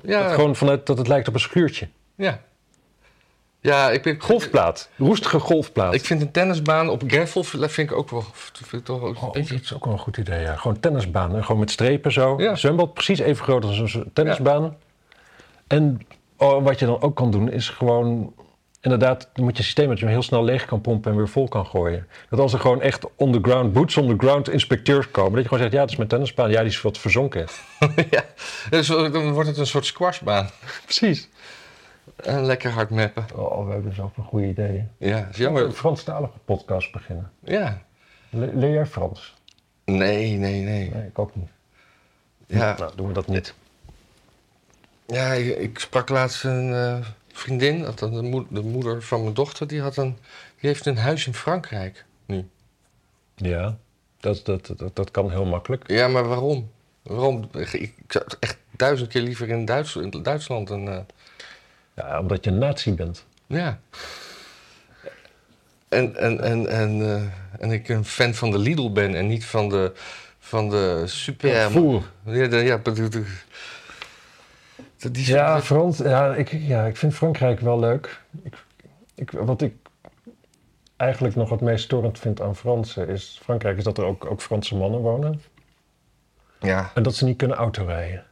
S2: ja,
S3: Dat gewoon vanuit dat het lijkt op een schuurtje.
S2: ja. Ja, ik ben
S3: Golfplaat, roestige golfplaat.
S2: Ik vind een tennisbaan op gravel vind ik ook wel vind ik toch ook een
S3: Oh,
S2: beetje
S3: dat is ook wel een goed idee, ja. Gewoon tennisbaan, hè. gewoon met strepen zo.
S2: Ja.
S3: Zwembad precies even groot als een z- tennisbaan. En oh, wat je dan ook kan doen is gewoon... Inderdaad, dan moet je systeem dat je hem heel snel leeg kan pompen en weer vol kan gooien. Dat als er gewoon echt on the ground, boots on the ground inspecteurs komen... dat je gewoon zegt, ja, dat is mijn tennisbaan. Ja, die is wat verzonken.
S2: ja. Dus dan wordt het een soort squashbaan.
S3: Precies.
S2: En lekker hard meppen.
S3: Oh, we hebben zo een goede idee.
S2: Ja, is
S3: Jammer. Een
S2: jammer.
S3: Franstalige podcast beginnen.
S2: Ja.
S3: Le- leer jij Frans?
S2: Nee, nee, nee.
S3: Nee, ik ook niet.
S2: Ja.
S3: Nou, doen we dat niet.
S2: Ja, ik, ik sprak laatst een eh, vriendin, althans de, moed- de moeder van mijn dochter, die, had een, die heeft een huis in Frankrijk nu.
S3: Ja, dat, dat, dat, dat kan heel makkelijk.
S2: Ja, maar waarom? Waarom? Ik, ik zou het echt duizend keer liever in, Duits, in Duitsland een. eh,
S3: Ja, omdat je een nazi bent.
S2: ja. En, en, en, en, eh, en ik een fan van de Lidl ben en niet van de, van de super.
S3: Voer.
S2: Ja, de, ja, bedoel- de- de- die
S3: Ja, Frans, ja, ik, ja, ik vind Frankrijk wel leuk. Ik, ik, wat ik eigenlijk nog het meest storend vind aan Fransen is... Frankrijk is dat er ook, ook Franse mannen wonen.
S2: ja,
S3: En dat ze niet kunnen autorijden.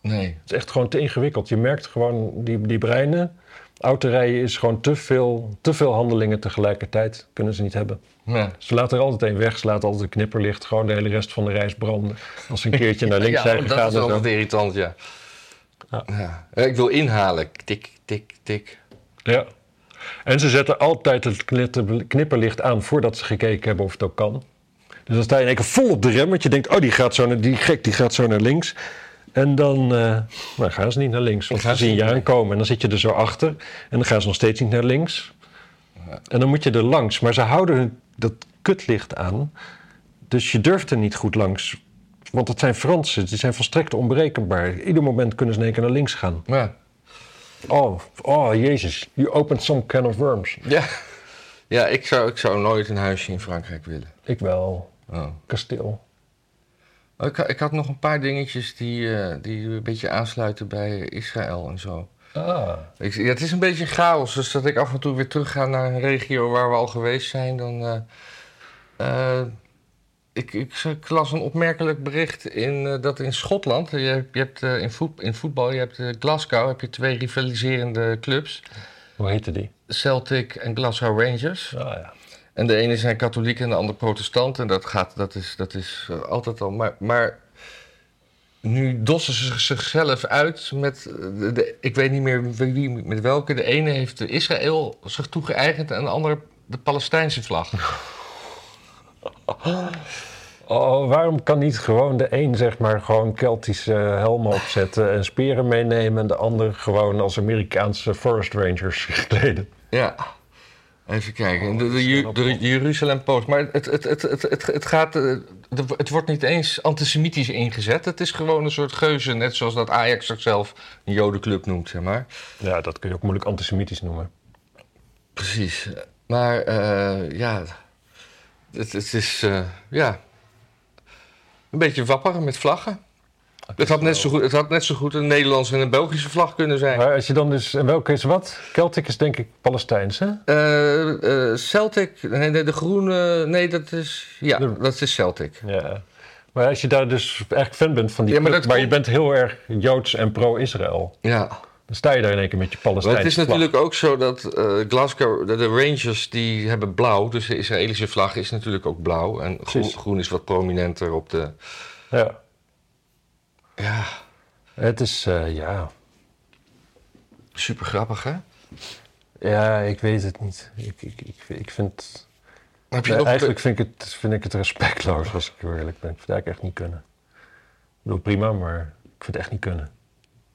S2: nee.
S3: Het is echt gewoon te ingewikkeld. Je merkt gewoon die, die breinen. Autorijden is gewoon te veel, te veel handelingen tegelijkertijd. Kunnen ze niet hebben.
S2: Ja.
S3: Ze laten er altijd één weg. Ze laten altijd een knipperlicht. Gewoon de hele rest van de reis branden. Als ze een keertje naar links
S2: ja,
S3: zijn
S2: oh,
S3: gegaan.
S2: Dat is
S3: en zo.
S2: altijd irritant, ja.
S3: Ja.
S2: Ja. Eh, Ik wil inhalen. Tik, tik, tik.
S3: Ja. En ze zetten altijd het knitter- knipperlicht aan voordat ze gekeken hebben of het ook kan. Dus dan sta je in één keer vol op de rem, want je denkt, oh, die gaat zo naar, die gek, die gaat zo naar links. En dan, eh, nou, dan gaan ze niet naar links, want
S2: Dan gaan
S3: ze
S2: ze
S3: zien je aankomen. En dan zit je er zo achter en dan gaan ze nog steeds niet naar links. En dan moet je er langs, maar ze houden hun, dat kutlicht aan. Dus je durft er niet goed langs, want het zijn Fransen, die zijn volstrekt onberekenbaar. Ieder moment kunnen ze in één keer naar links gaan.
S2: Ja.
S3: Oh, oh, jezus. You opened some can of worms.
S2: Ja, ja ik, zou, ik zou nooit een huisje in Frankrijk willen.
S3: Ik wel.
S2: Oh.
S3: Kasteel.
S2: Ik, ha- ik had nog een paar dingetjes die, eh, die een beetje aansluiten bij Israël en zo.
S3: Ah.
S2: Ik, ja, het is een beetje chaos, dus dat ik af en toe weer terug ga naar een regio waar we al geweest zijn, dan... eh, eh, ik, ik, ik las een opmerkelijk bericht in, eh, dat in Schotland, je, hebt- je hebt eh, in, voet, in voetbal, je hebt eh, Glasgow, heb je twee rivaliserende clubs,
S3: Hoe heette die?
S2: Celtic en Glasgow Rangers.
S3: Ah ja.
S2: En de ene zijn katholiek en de ander protestant. En dat, gaat, dat is, dat is eh, altijd al. Maar, maar nu dossen ze zichzelf uit met. eh, De, de- ik weet niet meer wie, met welke. De ene heeft de Israël zich toegeëigend en de ander de Palestijnse vlag.
S3: Oh, waarom kan niet gewoon de een, zeg maar, gewoon Keltische helmen opzetten en speren meenemen en de ander gewoon als Amerikaanse Forest Rangers kleden?
S2: Ja. Even kijken. En De, de, Ju- de Jeruzalem Post. Maar het, het, het, het, het, het, gaat, eh, de- het wordt niet eens antisemitisch ingezet. Het is gewoon een soort geuze. Net zoals dat Ajax zichzelf een jodenclub noemt, zeg maar.
S3: Ja, dat kun je ook moeilijk antisemitisch noemen.
S2: Precies. Maar eh, ja, het, het is. eh, ja. Een beetje wapper met vlaggen. Het had, net zo goed, het had net zo goed een Nederlandse en een Belgische vlag kunnen zijn.
S3: Maar als je dan dus, en welke is wat? Celtic is denk ik Palestijns, hè?
S2: Eh, eh, Celtic, nee, nee, de groene, nee, dat is, ja,
S3: De-
S2: dat is Celtic.
S3: Ja. Maar als je daar dus eigenlijk fan bent van die
S2: Ja, maar
S3: club,
S2: dat
S3: maar je
S2: komt-
S3: bent heel erg Joods en pro-Israël,
S2: Ja.
S3: dan sta je daar in één keer met je
S2: Maar
S3: Palestijnse
S2: het is
S3: vlag.
S2: natuurlijk ook zo dat eh, Glasgow, de, de Rangers die hebben blauw, dus de Israëlische vlag is natuurlijk ook blauw. En groen,
S3: Precies.
S2: groen is wat prominenter op de.
S3: Ja.
S2: Ja,
S3: Het is, eh, ja.
S2: super grappig hè?
S3: Ja, ik weet het niet. Ik, ik, ik, ik vind...
S2: Heb je
S3: Nee,
S2: nog
S3: eigenlijk vind ik, het, vind ik het respectloos, als ik heel eerlijk ben. Ik vind het eigenlijk echt niet kunnen. Ik bedoel, prima, maar ik vind het echt niet kunnen.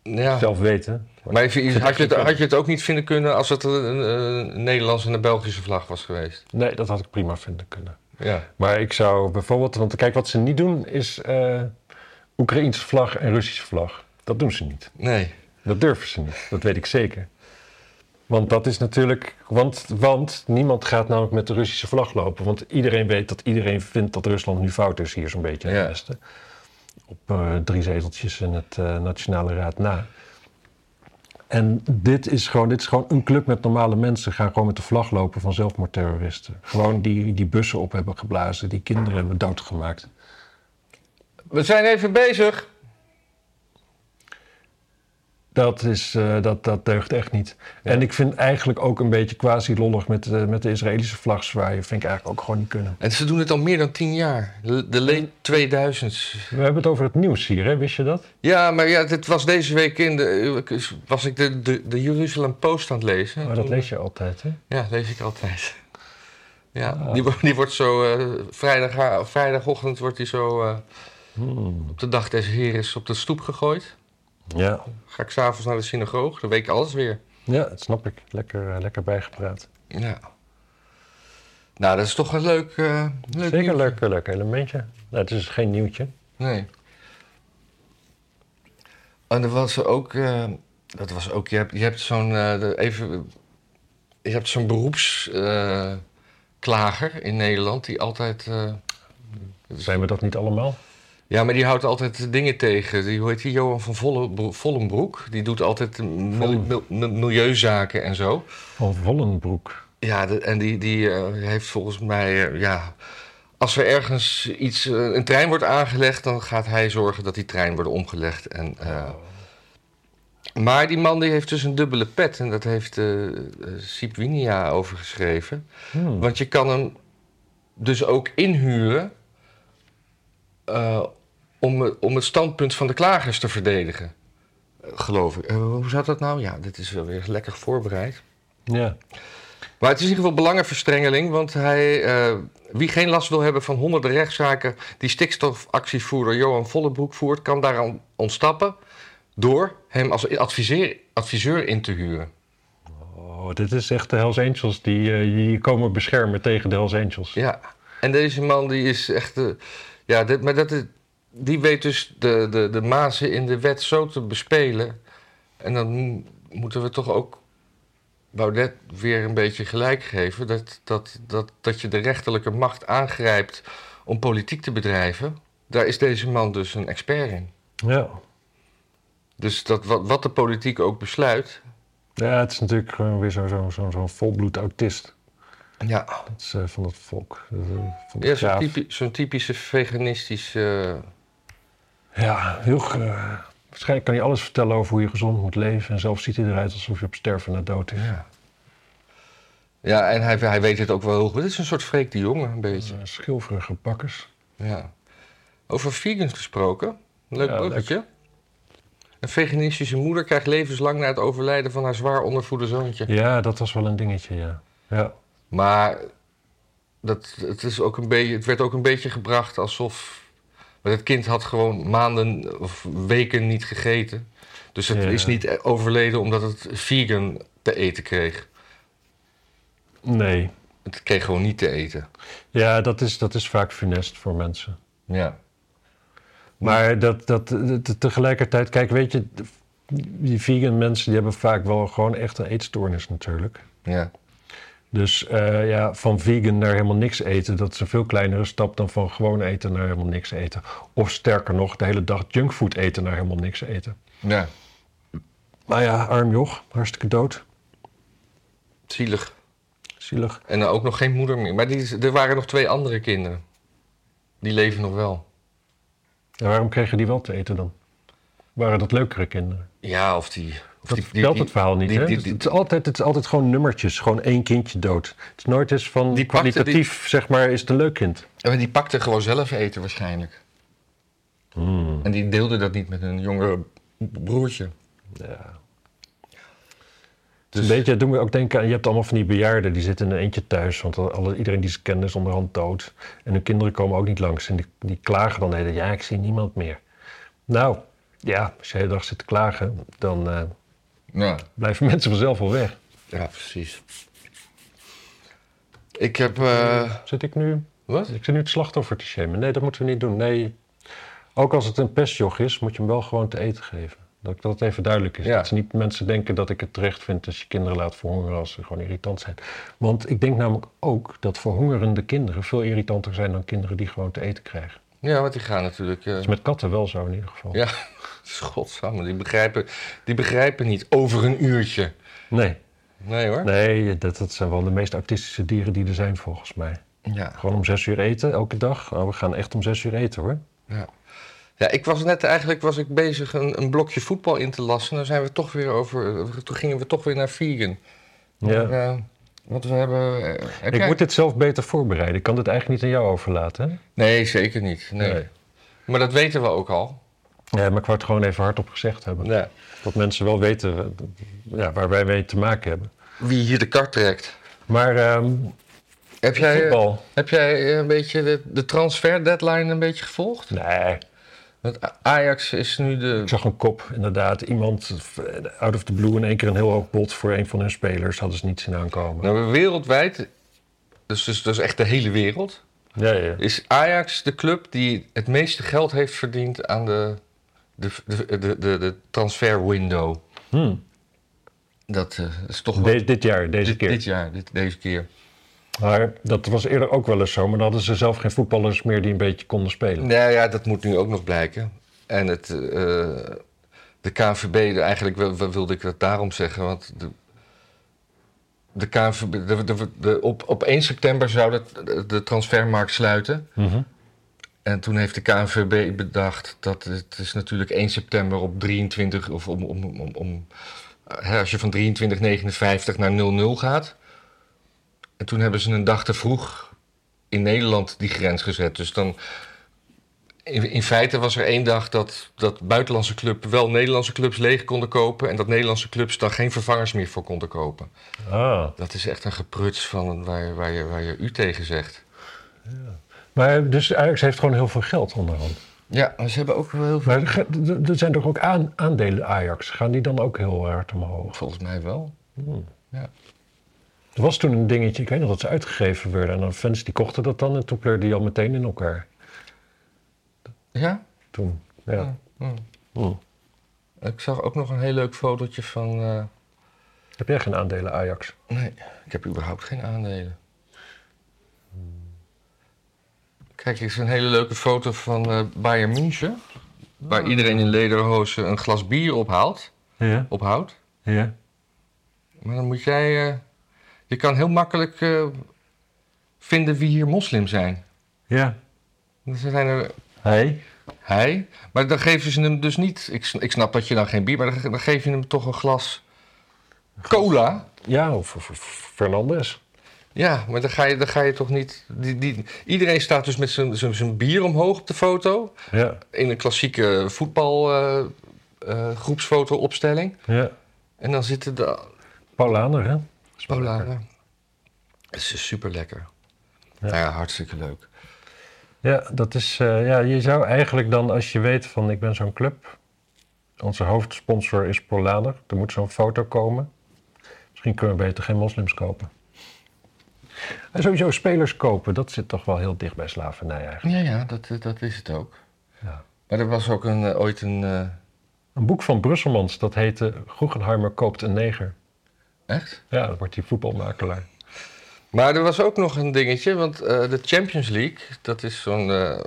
S2: Ja.
S3: Zelf weten. Maar
S2: Maar even, had, je het, had je het ook niet vinden kunnen als het een, een, een Nederlandse en een Belgische vlag was geweest?
S3: Nee, dat had ik prima vinden kunnen.
S2: Ja.
S3: Maar ik zou bijvoorbeeld... Want kijk, wat ze niet doen is eh Oekraïense vlag en Russische vlag. Dat doen ze niet.
S2: Nee.
S3: Dat durven ze niet. Dat weet ik zeker. Want dat is natuurlijk... Want, want niemand gaat namelijk met de Russische vlag lopen. Want iedereen weet dat iedereen vindt dat Rusland nu fout is hier zo'n beetje in het
S2: Ja.
S3: Westen. Op eh, drie zeteltjes in het eh, Nationale Raad na. En dit is, gewoon, dit is gewoon een club met normale mensen. Gaan gewoon met de vlag lopen van zelfmoordterroristen. Gewoon die, die bussen op hebben geblazen. Die kinderen hebben doodgemaakt.
S2: We zijn even bezig.
S3: Dat, is, eh, dat, dat deugt echt niet. En ik vind eigenlijk ook een beetje quasi-lollig met, de- met de Israëlische vlag zwaaien. Vind ik eigenlijk ook gewoon niet kunnen.
S2: En ze doen het al meer dan tien jaar. De de late 2000s.
S3: We hebben het over het nieuws hier, hè? wist je dat?
S2: Ja, maar ja, dit was deze week in de. Was ik de, de, de Jeruzalem Post aan het lezen?
S3: Maar dat lees je altijd, hè?
S2: Ja, lees ik altijd. Ja, die, wo- die wordt zo. eh, vrijdag, vrijdagochtend wordt die zo. eh, op de dag des Heres op de stoep gegooid.
S3: Ja.
S2: Ga ik s'avonds naar de synagoog, dan weet ik alles weer.
S3: ja, dat snap ik. Lekker, eh, lekker bijgepraat.
S2: Ja. Nou, dat is toch een leuk. eh, leuk
S3: Zeker
S2: nieuws.
S3: leuk, leuk elementje. Nou, het is geen nieuwtje.
S2: Nee. En er was ook, eh, dat was ook, je hebt, je hebt zo'n, eh, de- even, je hebt zo'n beroepsklager in Nederland die altijd, eh,
S3: Zijn we dat niet allemaal?
S2: ja, maar die houdt altijd dingen tegen. Die, hoe heet die, Johan van Volle- Vollenbroek, die doet altijd mil- mil- mil- milieuzaken en zo.
S3: Van Vollenbroek.
S2: Ja, de- en die, die eh, heeft volgens mij, eh, ja, als er ergens iets, eh, een trein wordt aangelegd, dan gaat hij zorgen dat die trein wordt omgelegd. En, eh, maar die man die heeft dus een dubbele pet en dat heeft eh eh, Sipwinia over geschreven.
S3: Hmm.
S2: Want je kan hem dus ook inhuren eh, om, het- om het standpunt van de klagers te verdedigen. Eh, Geloof ik. Eh, hoe zat dat nou? Ja, dit is wel weer lekker voorbereid.
S3: Ja.
S2: Maar het is in ieder geval belangenverstrengeling, want hij, eh, wie geen last wil hebben van honderden rechtszaken die stikstofactievoerder Johan Vollebroek voert, kan daaraan ontsnappen door hem als adviseer, adviseur in te huren.
S3: Oh, dit is echt de Hells Angels die eh, die je komen beschermen tegen de Hells Angels.
S2: Ja, en deze man die is echt, eh, ja, dit, maar dat is, die weet dus de, de, de mazen in de wet zo te bespelen. En dan mo- moeten we toch ook Baudet weer een beetje gelijk geven. Dat, dat, dat, dat je de rechterlijke macht aangrijpt om politiek te bedrijven. Daar is deze man dus een expert in.
S3: Ja.
S2: Dus dat, wat, wat de politiek ook besluit.
S3: Ja, het is natuurlijk gewoon weer zo'n zo, zo, zo'n volbloed autist.
S2: Ja,
S3: Dat is eh, van het volk. Dat is, eh, van de
S2: ja zo'n
S3: graaf.
S2: typi- zo'n typische veganistische. eh,
S3: Ja, heel. ge- waarschijnlijk kan hij alles vertellen over hoe je gezond moet leven. En zelf ziet hij eruit alsof je op sterven na dood is.
S2: Ja. Ja, en hij, hij weet het ook wel heel goed. Het is een soort Freek de Jonge, een beetje.
S3: Eh, Schilferige bakkers.
S2: Ja. Over vegans gesproken. Leuk
S3: Mm. Ja,
S2: bruggetje. Een veganistische moeder krijgt levenslang na het overlijden van haar zwaar ondervoede zoontje.
S3: Ja, dat was wel een dingetje, ja. Ja,
S2: Maar dat, het, is ook een beetje, het werd ook een beetje gebracht alsof... Maar het kind had gewoon maanden of weken niet gegeten. Dus het
S3: Ja.
S2: is niet overleden omdat het vegan te eten kreeg.
S3: nee.
S2: Het kreeg gewoon niet te eten.
S3: Ja, dat is, dat is vaak funest voor mensen.
S2: Ja.
S3: Maar dat, dat, te- tegelijkertijd, kijk, weet je, die vegan mensen die hebben vaak wel gewoon echt een eetstoornis natuurlijk.
S2: Ja.
S3: Dus eh, ja, van vegan naar helemaal niks eten, dat is een veel kleinere stap dan van gewoon eten naar helemaal niks eten. Of sterker nog, de hele dag junkfood eten naar helemaal niks eten.
S2: Ja,
S3: Maar ja, arm joch, hartstikke dood.
S2: zielig.
S3: Zielig.
S2: En dan ook nog geen moeder meer. Maar die, is- er waren nog twee andere kinderen. Die leven nog wel.
S3: En waarom kregen die wel te eten dan? Waren dat leukere kinderen?
S2: Ja, of die... Of
S3: Dat
S2: die, die,
S3: vertelt
S2: die-
S3: het verhaal niet,
S2: die-
S3: hè?
S2: die-
S3: Dus Het-
S2: die-
S3: het, is altijd, het is altijd gewoon nummertjes, gewoon één kindje dood. Het is nooit eens van
S2: Die pakte die-
S3: kwalitatief, zeg maar, is het een leuk kind.
S2: En die pakte gewoon zelf eten waarschijnlijk.
S3: Hmm.
S2: En die deelde dat niet met een jongere b- broertje.
S3: Ja. Dus een beetje, het doet me ook denken aan, je hebt allemaal van die bejaarden, die zitten in een eentje thuis, want alle, iedereen die ze kennen is onderhand dood. En hun kinderen komen ook niet langs en die, die klagen dan de hele tijd, ja, ik zie niemand meer. Nou, ja, als je de hele dag zit te klagen, dan eh,
S2: Ja,
S3: blijven mensen vanzelf wel weg.
S2: ja precies. Ik heb... eh,
S3: Zit ik nu
S2: wat?
S3: Ik zit nu het slachtoffer te shamen. Nee, dat moeten we niet doen. Nee, ook als het een pestjog is, moet je hem wel gewoon te eten geven. Dat dat even duidelijk is.
S2: Ja.
S3: Dat ze niet mensen denken dat ik het terecht vind als je kinderen laat verhongeren als ze gewoon irritant zijn. Want ik denk namelijk ook dat verhongerende kinderen veel irritanter zijn dan kinderen die gewoon te eten krijgen.
S2: Ja, want die gaan natuurlijk... eh,
S3: Dat is met katten wel zo in ieder geval.
S2: ja, godsamme. Die begrijpen, die begrijpen niet over een uurtje.
S3: Nee,
S2: Nee hoor.
S3: nee dat, dat zijn wel de meest autistische dieren die er zijn volgens mij.
S2: Ja.
S3: Gewoon om zes uur eten, elke dag. Oh, we gaan echt om zes uur eten hoor.
S2: Ja. ja, ik was net eigenlijk was ik bezig een, een blokje voetbal in te lassen. Dan zijn we toch weer over. Toen gingen we toch weer naar vegan.
S3: Ja.
S2: Maar, eh, want we hebben. eh, heb
S3: Ik
S2: jij-
S3: moet dit zelf beter voorbereiden. Ik kan dit eigenlijk niet aan jou overlaten. Hè?
S2: Nee, zeker niet. Nee. Maar dat weten we ook al.
S3: Ja, maar ik wou het gewoon even hardop gezegd hebben.
S2: Ja.
S3: Dat mensen wel weten eh, ja, waar wij mee te maken hebben.
S2: Wie hier de kar trekt.
S3: Maar ehm
S2: Heb jij, eh,
S3: voetbal?
S2: heb jij een beetje de, de transfer deadline een beetje gevolgd?
S3: Nee.
S2: Want A- Ajax is nu
S3: Ik
S2: de.
S3: zag een kop, inderdaad. Iemand eh, out of the blue in één keer een heel hoog bod voor een van hun spelers. Hadden ze niet zien aankomen.
S2: Nou, wereldwijd, dus, dus, dus echt de hele wereld,
S3: Ja, ja.
S2: Is Ajax de club die het meeste geld heeft verdiend aan de, de, de, de, de, de transfer window?
S3: Hm.
S2: Dat eh, is toch wel-
S3: De- dit jaar, deze
S2: dit,
S3: keer.
S2: dit jaar, dit, deze keer.
S3: Maar dat was eerder ook wel eens zo. Maar dan hadden ze zelf geen voetballers meer die een beetje konden spelen.
S2: Nou ja, dat moet nu ook nog blijken. En het, eh, de KNVB, de- eigenlijk wil- wil- wilde ik dat daarom zeggen, want de, de KNVB, de, de, de- op, op 1 september zou dat- de, de transfermarkt sluiten.
S3: Mhm.
S2: En toen heeft de KNVB bedacht dat het is natuurlijk 1 september op 23 of om, om, om, om hè, als je van 23,59 naar 00 gaat. En toen hebben ze een dag te vroeg in Nederland die grens gezet. Dus dan in, in feite was er één dag dat, dat buitenlandse club wel Nederlandse clubs leeg konden kopen en dat Nederlandse clubs dan geen vervangers meer voor konden kopen.
S3: Ah.
S2: Dat is echt een gepruts van een- waar, je- waar, je, waar je u tegen zegt.
S3: Maar dus Ajax heeft gewoon heel veel geld onderhand.
S2: Ja, maar ze hebben ook wel heel veel.
S3: Maar er ga- er- er zijn toch ook aan, aandelen Ajax. Gaan die dan ook heel hard omhoog?
S2: Volgens mij wel. Hmm.
S3: Er was toen een dingetje, ik weet nog dat ze uitgegeven werden. En dan fans die kochten dat dan en toen pleurde die al meteen in elkaar.
S2: Ja?
S3: Toen, ja.
S2: Ja.
S3: Hmm.
S2: Ik zag ook nog een heel leuk fotootje van. eh,
S3: Heb jij geen aandelen Ajax?
S2: Nee, ik heb überhaupt geen aandelen. Kijk, dit is een hele leuke foto van eh Bayern München. Waar iedereen in lederhozen een glas bier ophaalt,
S3: Ja,
S2: ophoudt.
S3: ja.
S2: Maar dan moet jij. eh, je kan heel makkelijk eh, vinden wie hier moslim zijn.
S3: Ja.
S2: Er zijn er
S3: Hij?
S2: Hij? Maar dan geven ze hem dus niet. Ik, sn- ik snap dat je dan geen bier, maar dan, ge- dan geef je hem toch een glas cola.
S3: Ja, of, of- of Fernandes.
S2: Ja, maar dan ga je, dan ga je toch niet. Die, die, iedereen staat dus met zijn- zijn zijn bier omhoog op de foto.
S3: Ja,
S2: In een klassieke eh, voetbalgroepsfoto-opstelling.
S3: ja.
S2: en dan zitten de.
S3: Paulaner, hè? Is wel
S2: Cola.
S3: lekker.
S2: Het is super lekker.
S3: Ja.
S2: Ja. ja, hartstikke leuk.
S3: Ja, dat is, eh, ja, je zou eigenlijk dan, als je weet van ik ben zo'n club. Onze hoofdsponsor is Polaner. Er moet zo'n foto komen. Misschien kunnen we beter geen moslims kopen. En sowieso spelers kopen, dat zit toch wel heel dicht bij slavernij eigenlijk.
S2: Ja, ja, dat, eh, dat is het ook.
S3: Ja.
S2: Maar er was ook een, eh, ooit een. eh,
S3: Een boek van Brusselmans, dat heette Guggenheimer koopt een neger.
S2: echt?
S3: Ja, dat wordt die voetbalmakelaar.
S2: Maar er was ook nog een dingetje, want eh, de Champions League, dat is zo'n eh,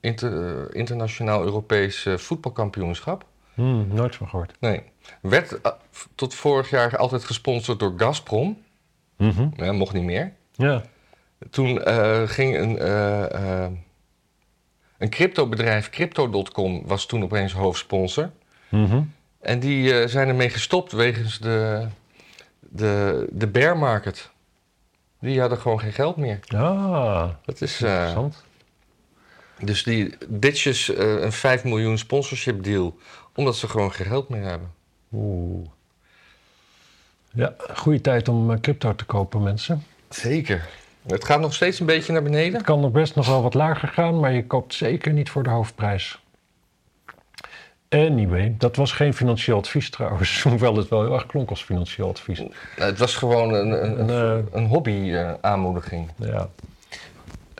S2: inter- eh, internationaal Europees eh, voetbalkampioenschap.
S3: Hmm, nooit van gehoord.
S2: Nee. Werd eh, f- tot vorig jaar altijd gesponsord door Gazprom.
S3: Mhm.
S2: Ja, mocht niet meer.
S3: Ja.
S2: Toen eh, ging een, eh, eh, een cryptobedrijf, Crypto.com, was toen opeens hoofdsponsor.
S3: Mhm.
S2: En die eh, zijn ermee gestopt wegens de, de, de bear market. Die hadden gewoon geen geld meer.
S3: Ah,
S2: Dat is, eh,
S3: interessant.
S2: dus die ditches eh, een 5 miljoen sponsorship deal. Omdat ze gewoon geen geld meer hebben.
S3: Oeh. Ja, goede tijd om eh, crypto te kopen, mensen.
S2: Zeker. Het gaat nog steeds een beetje naar beneden.
S3: Het kan nog best nog wel wat lager gaan, maar je koopt zeker niet voor de hoofdprijs. Anyway, dat was geen financieel advies trouwens, hoewel het wel heel erg klonk als financieel advies.
S2: Nou, het was gewoon een, een,
S3: En,
S2: een,
S3: eh,
S2: een hobby-aanmoediging.
S3: ja.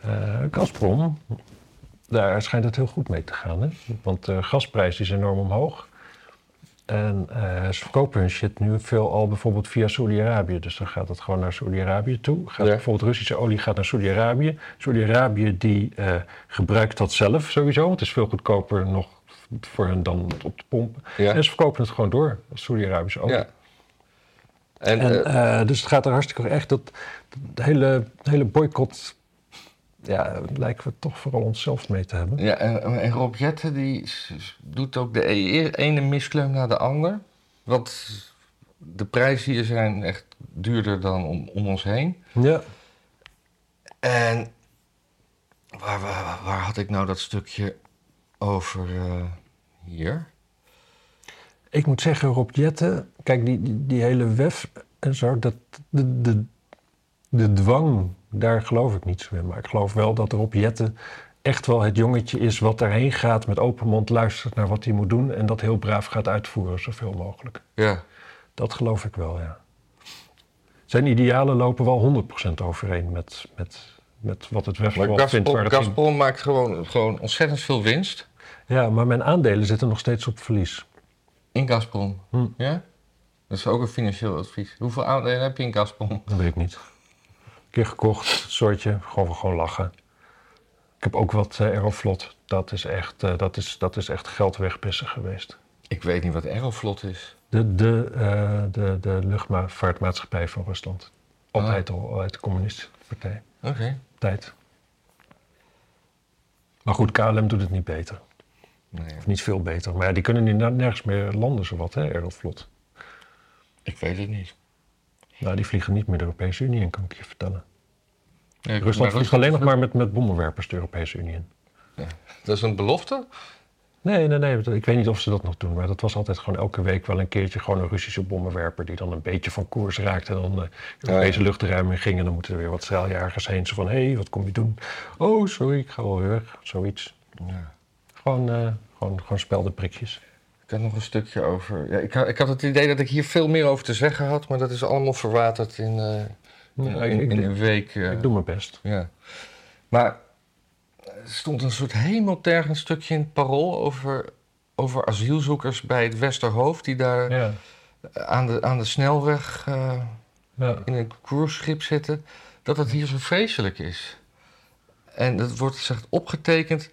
S3: Eh Gazprom, daar schijnt het heel goed mee te gaan. Hè? Want de gasprijs is enorm omhoog. En eh, ze verkopen hun shit nu veel al bijvoorbeeld via Saudi-Arabië. Dus dan gaat het gewoon naar Saudi-Arabië toe. Gaat
S2: Ja.
S3: Bijvoorbeeld Russische olie gaat naar Saudi-Arabië. Saudi-Arabië die eh, gebruikt dat zelf sowieso. Want het is veel goedkoper nog voor hun dan het op te pompen.
S2: Ja.
S3: En ze verkopen het gewoon door als Saudi-Arabische olie.
S2: Ja. En,
S3: En,
S2: eh,
S3: eh, dus het gaat er hartstikke echt. Dat, de hele, de hele boycott. Ja, lijken we toch vooral onszelf mee te hebben.
S2: ja, en, en Rob Jetten die s- s- doet ook de e- ene miskleun naar de ander. Want de prijzen hier zijn echt duurder dan om, om ons heen.
S3: Ja.
S2: En waar, waar, waar had ik nou dat stukje over eh, hier?
S3: Ik moet zeggen, Rob Jetten. Kijk, die, die, die hele WEF en zo. Dat, de, de, de dwang, daar geloof ik niet zo in. Maar ik geloof wel dat Rob Jetten echt wel het jongetje is wat daarheen gaat. Met open mond luistert naar wat hij moet doen. En dat heel braaf gaat uitvoeren, zoveel mogelijk.
S2: Ja.
S3: Dat geloof ik wel, ja. Zijn idealen lopen wel 100% overeen met, met, met wat het
S2: Maar
S3: Westblad vindt. waar
S2: Gazprom,
S3: het in-
S2: Gazprom maakt gewoon, gewoon ontzettend veel winst
S3: Ja, maar mijn aandelen zitten nog steeds op verlies.
S2: in Gazprom.
S3: Hm.
S2: Ja? Dat is ook een financieel advies. Hoeveel aandelen heb je in Gazprom?
S3: Dat weet ik niet. Een keer gekocht, soortje, gewoon, gewoon lachen. Ik heb ook wat eh, Aeroflot. Dat is, echt, eh, dat, is, dat is echt geld wegpissen geweest.
S2: Ik weet niet wat Aeroflot is.
S3: De, de, eh, de, de luchtvaartmaatschappij van Rusland. Altijd al uit de communistische partij.
S2: Oké.
S3: Tijd. Maar goed, KLM doet het niet beter.
S2: Nee,
S3: Niet veel beter. Maar ja, die kunnen nu na- nergens meer landen, zowat, hè, Aeroflot.
S2: ik weet het niet.
S3: Nou, die vliegen niet meer de Europese Unie in, kan ik je vertellen.
S2: Nee,
S3: Rusland
S2: maar
S3: vliegt alleen nog maar met, met bommenwerpers de Europese Unie in.
S2: Dat is een belofte?
S3: Nee, nee, nee. Ik weet niet of ze dat nog doen. Maar dat was altijd gewoon elke week wel een keertje gewoon een Russische bommenwerper... die dan een beetje van koers raakte en dan eh, de Europese luchtruim in ging. En dan moeten er weer wat straaljagers heen. Zo van, hé, hey, wat kom je doen? Oh, sorry, ik ga wel weer weg. Zoiets.
S2: Ja.
S3: Gewoon, eh gewoon, gewoon spelde prikjes.
S2: Ik had nog een stukje over. Ja, ik, ha- ik had het idee dat ik hier veel meer over te zeggen had, maar dat is allemaal verwaterd in, eh,
S3: Ja,
S2: in,
S3: ik, ik-
S2: in een week. eh,
S3: ik doe mijn best.
S2: ja. Maar er stond een soort hemeltergend stukje in het parool over, over asielzoekers bij het Westerhoofd, die daar
S3: Ja,
S2: aan, de, aan de snelweg eh,
S3: ja.
S2: in een cruiseschip zitten, dat het hier zo vreselijk is. En dat wordt zegt opgetekend.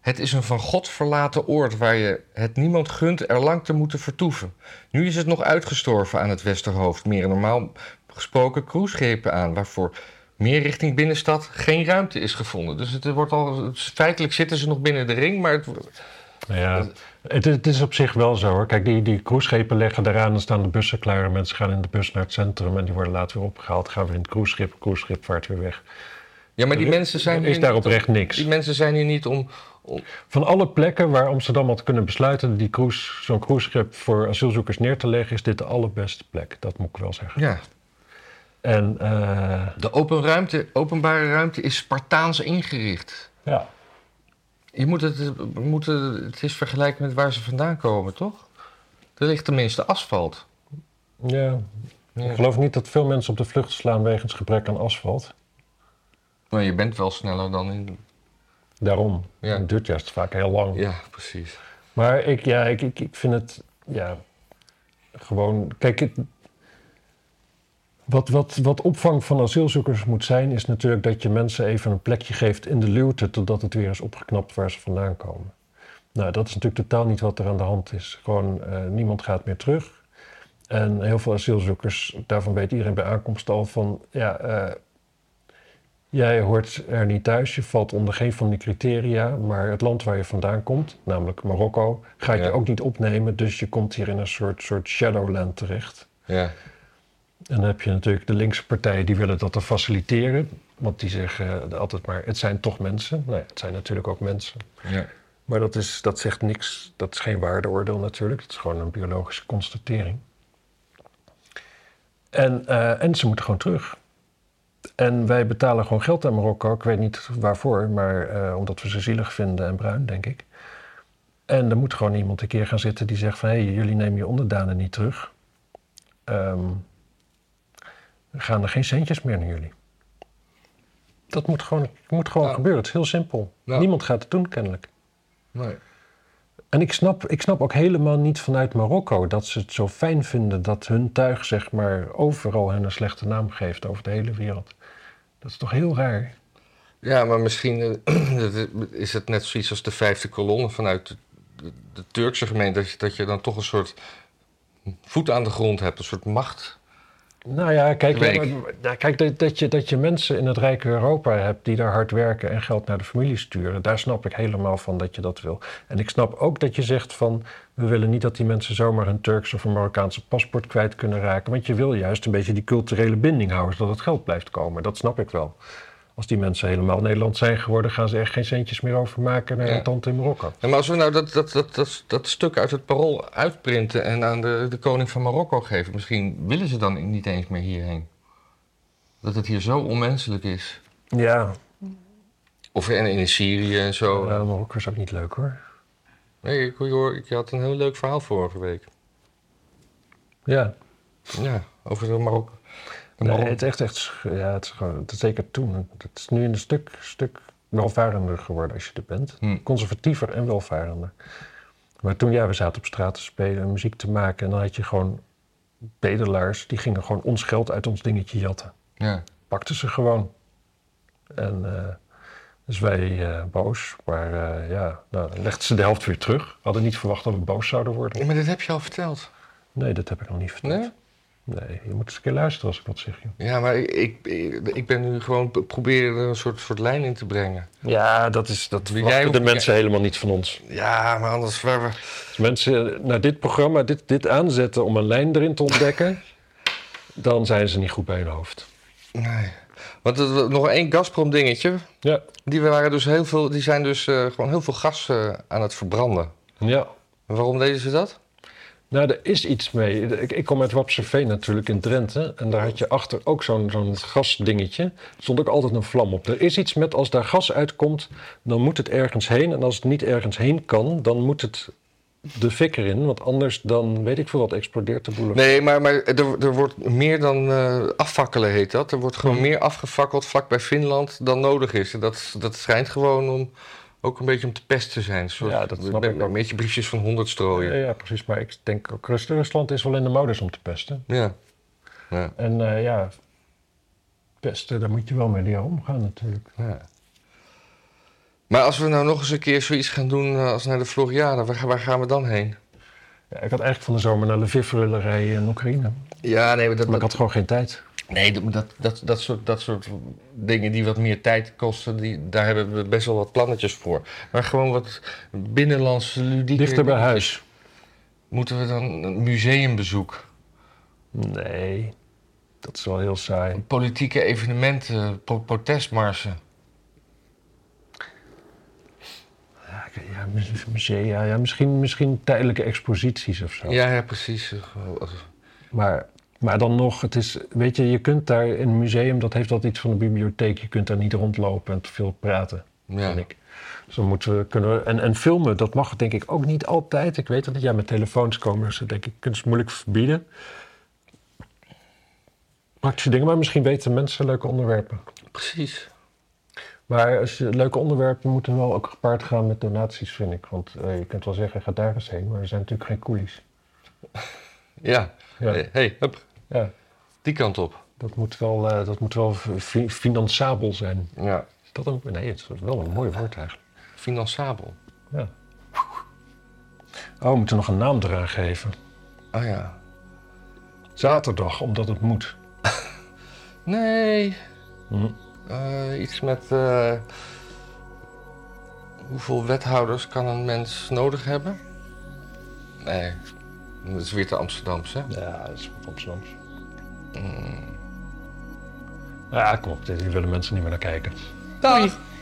S2: Het is een van God verlaten oord waar je het niemand gunt er lang te moeten vertoeven. Nu is het nog uitgestorven aan het Westerhoofd. Meer normaal gesproken cruiseschepen aan, waarvoor meer richting binnenstad geen ruimte is gevonden. Dus het wordt al, feitelijk zitten ze nog binnen de ring, maar het,
S3: Nou Ja, het, is- het is op zich wel zo hoor. Kijk, die, die cruiseschepen leggen eraan en staan de bussen klaar. En mensen gaan in de bus naar het centrum en die worden later weer opgehaald. Gaan weer in het cruiseschip, het cruiseschip vaart weer weg.
S2: ja, maar die
S3: Er-
S2: mensen zijn
S3: er
S2: hier
S3: is daar
S2: niet om-
S3: oprecht niks.
S2: Die mensen zijn hier niet om, om
S3: Van alle plekken waar Amsterdam had kunnen besluiten die cruise, zo'n cruiseschip voor asielzoekers neer te leggen, is dit de allerbeste plek. Dat moet ik wel zeggen.
S2: ja,
S3: En eh,
S2: De open ruimte, openbare ruimte is Spartaans ingericht.
S3: ja,
S2: Je moet het, we moeten het is vergelijken met waar ze vandaan komen, toch? Er ligt tenminste asfalt.
S3: ja, ik geloof niet dat veel mensen op de vlucht slaan wegens gebrek aan asfalt.
S2: Maar je bent wel sneller dan in...
S3: Daarom.
S2: Ja.
S3: Het duurt juist vaak heel lang.
S2: Ja, precies.
S3: Maar ik, ja, ik, ik, ik vind het, ja, gewoon, kijk, het- Wat, wat, wat opvang van asielzoekers moet zijn, is natuurlijk dat je mensen even een plekje geeft in de luwte totdat het weer is opgeknapt waar ze vandaan komen. Nou, dat is natuurlijk totaal niet wat er aan de hand is. Gewoon eh, niemand gaat meer terug. En heel veel asielzoekers, daarvan weet iedereen bij aankomst al van, ja, eh, jij hoort er niet thuis, je valt onder geen van die criteria, maar het land waar je vandaan komt, namelijk Marokko, ga ik
S2: Ja.
S3: je ook niet opnemen, dus je komt hier in een soort, soort shadowland terecht.
S2: Ja.
S3: En dan heb je natuurlijk de linkse partijen die willen dat dan faciliteren. Want die zeggen eh, altijd maar, het zijn toch mensen. Nou ja, het zijn natuurlijk ook mensen.
S2: ja.
S3: Maar dat, is, dat zegt niks. Dat is geen waardeoordeel natuurlijk. Dat is gewoon een biologische constatering. En, eh, en ze moeten gewoon terug. En wij betalen gewoon geld aan Marokko. Ik weet niet waarvoor, maar eh, omdat we ze zielig vinden en bruin, denk ik. En er moet gewoon iemand een keer gaan zitten die zegt van... hé, hey, jullie nemen je onderdanen niet terug. Ehm, er gaan er geen centjes meer naar jullie. Dat moet gewoon, moet gewoon
S2: Ja.
S3: gebeuren. Het is heel simpel.
S2: Ja.
S3: Niemand gaat het doen, kennelijk.
S2: Nee.
S3: En ik snap, ik snap ook helemaal niet vanuit Marokko dat ze het zo fijn vinden dat hun tuig zeg maar overal hun een slechte naam geeft over de hele wereld. Dat is toch heel raar?
S2: Ja, maar misschien eh, dat is- is het net zoiets als de vijfde kolonne vanuit de, de- de Turkse gemeente. Dat je, dat je dan toch een soort voet aan de grond hebt, een soort macht.
S3: Nou ja, kijk,
S2: Werk.
S3: ja, maar- ja, kijk dat, dat, je, dat je mensen in het rijke Europa hebt die daar hard werken en geld naar de familie sturen, daar snap ik helemaal van dat je dat wil. En ik snap ook dat je zegt van, we willen niet dat die mensen zomaar hun Turks of een Marokkaanse paspoort kwijt kunnen raken, want je wil juist een beetje die culturele binding houden, zodat het geld blijft komen. Dat snap ik wel. Als die mensen helemaal Nederland zijn geworden, gaan ze echt geen centjes meer overmaken naar
S2: Ja.
S3: een tante in Marokko.
S2: Ja, maar als we nou dat, dat, dat, dat, dat stuk uit het parool uitprinten en aan de, de koning van Marokko geven, misschien willen ze dan niet eens meer hierheen. Dat het hier zo onmenselijk is.
S3: Ja,
S2: Of en in Syrië en zo.
S3: ja, Marokko is ook niet leuk hoor.
S2: Nee, ik, hoor, ik had een heel leuk verhaal vorige week.
S3: Ja,
S2: Ja, over de Marokko. de
S3: Nee,
S2: Marok-
S3: het is echt, echt, sch- ja, het is gewoon, het is zeker toen. Het is nu een stuk, stuk welvarender geworden als je er bent.
S2: Hm.
S3: Conservatiever en welvarender. Maar toen, ja, we zaten op straat te spelen en muziek te maken. En dan had je gewoon bedelaars, die gingen gewoon ons geld uit ons dingetje jatten.
S2: Ja.
S3: Pakten ze gewoon. En eh, dus wij eh, boos. Maar eh, ja, nou, dan legden ze de helft weer terug. We hadden niet verwacht dat we boos zouden worden.
S2: Maar dit heb je al verteld.
S3: Nee, dat heb ik nog niet verteld.
S2: Nee?
S3: Nee, je moet eens een keer luisteren als ik wat zeg, joh.
S2: Ja, maar ik, ik, ik ben nu gewoon p- proberen er een soort, soort lijn in te brengen.
S3: Ja, dat is dat
S2: Jij
S3: verwachten
S2: ook-
S3: de mensen helemaal niet van ons.
S2: Ja, maar anders... Waar we...
S3: Als mensen naar dit programma dit, dit aanzetten om een lijn erin te ontdekken, dan zijn ze niet goed bij hun hoofd.
S2: Nee. Want er- er- nog één Gazprom dingetje.
S3: Ja,
S2: Die, waren dus heel veel, die zijn dus eh, gewoon heel veel gas eh, aan het verbranden.
S3: ja.
S2: En waarom deden ze dat?
S3: Nou, er is iets mee. Ik, ik kom uit Wapserveen natuurlijk in Drenthe. En daar had je achter ook zo'n zo'n gasdingetje. Er stond ook altijd een vlam op. Er is iets met als daar gas uitkomt, dan moet het ergens heen. En als het niet ergens heen kan, dan moet het de fik erin. Want anders dan, weet ik veel wat, explodeert de boel.
S2: Nee, maar, maar er, er wordt meer dan eh, afvakkelen heet dat. Er wordt gewoon meer afgefakkeld vlakbij Finland dan nodig is. En dat, dat schijnt gewoon om ook een beetje om te pest te zijn. Een soort-
S3: Ja, dat snap
S2: met-
S3: ik ook.
S2: Een beetje briefjes van honderd strooien.
S3: Ja, ja, precies. Maar ik denk ook Rus- Rusland is wel in de modus om te pesten.
S2: Ja. Ja.
S3: En eh, ja, pesten, daar moet je wel mee leren omgaan natuurlijk.
S2: ja. Maar als we nou nog eens een keer zoiets gaan doen eh, als naar de Floriade, waar, gaan- waar gaan we dan heen?
S3: Ja, ik had eigenlijk van de zomer naar Lviv willen rijden in Oekraïne.
S2: Ja, nee, maar dat,
S3: Maar ik
S2: dat,
S3: had gewoon geen tijd.
S2: nee, dat, dat, dat, dat soort, dat soort dingen die wat meer tijd kosten, die, daar hebben we best wel wat plannetjes voor. Maar gewoon wat binnenlands ludieke...
S3: Dichter bij huis.
S2: Moeten we dan een museumbezoek,
S3: Nee, dat is wel heel saai.
S2: politieke evenementen, pro- protestmarsen?
S3: Ja, ik- ja, mu- musea, ja, misschien, misschien tijdelijke exposities of zo.
S2: Ja, ja, precies. Eh,
S3: Maar, maar dan nog, het is, weet je, je kunt daar in een museum, dat heeft altijd iets van een bibliotheek. Je kunt daar niet rondlopen en te veel praten.
S2: Ja.
S3: vind ik. Dus dan moeten we, kunnen we, en, en filmen, dat mag denk ik ook niet altijd. Ik weet dat ja, met telefoons komen ze denk ik, kunnen ze moeilijk verbieden. Praktische dingen, maar misschien weten mensen leuke onderwerpen.
S2: Precies.
S3: Maar als je, leuke onderwerpen moeten wel ook gepaard gaan met donaties, vind ik. Want eh, je kunt wel zeggen, ga daar eens heen, maar er zijn natuurlijk geen coolies.
S2: Ja.
S3: Ja.
S2: Hey, hey, hup,
S3: Ja.
S2: die kant op.
S3: Dat moet wel, eh, dat moet wel fi- finansabel zijn.
S2: Ja,
S3: Is dat een, nee, het is wel een mooi woord eigenlijk.
S2: finansabel.
S3: Ja. Oh, we moeten nog een naam eraan geven.
S2: Ah ja.
S3: Zaterdag, omdat het moet.
S2: Nee.
S3: Hm.
S2: Eh, iets met eh, hoeveel wethouders kan een mens nodig hebben? Nee, dat is weer te Amsterdamse.
S3: Ja, dat is wat Amsterdams. Mm. Nou Ja, kom op, hier willen mensen niet meer naar kijken.
S2: Dag.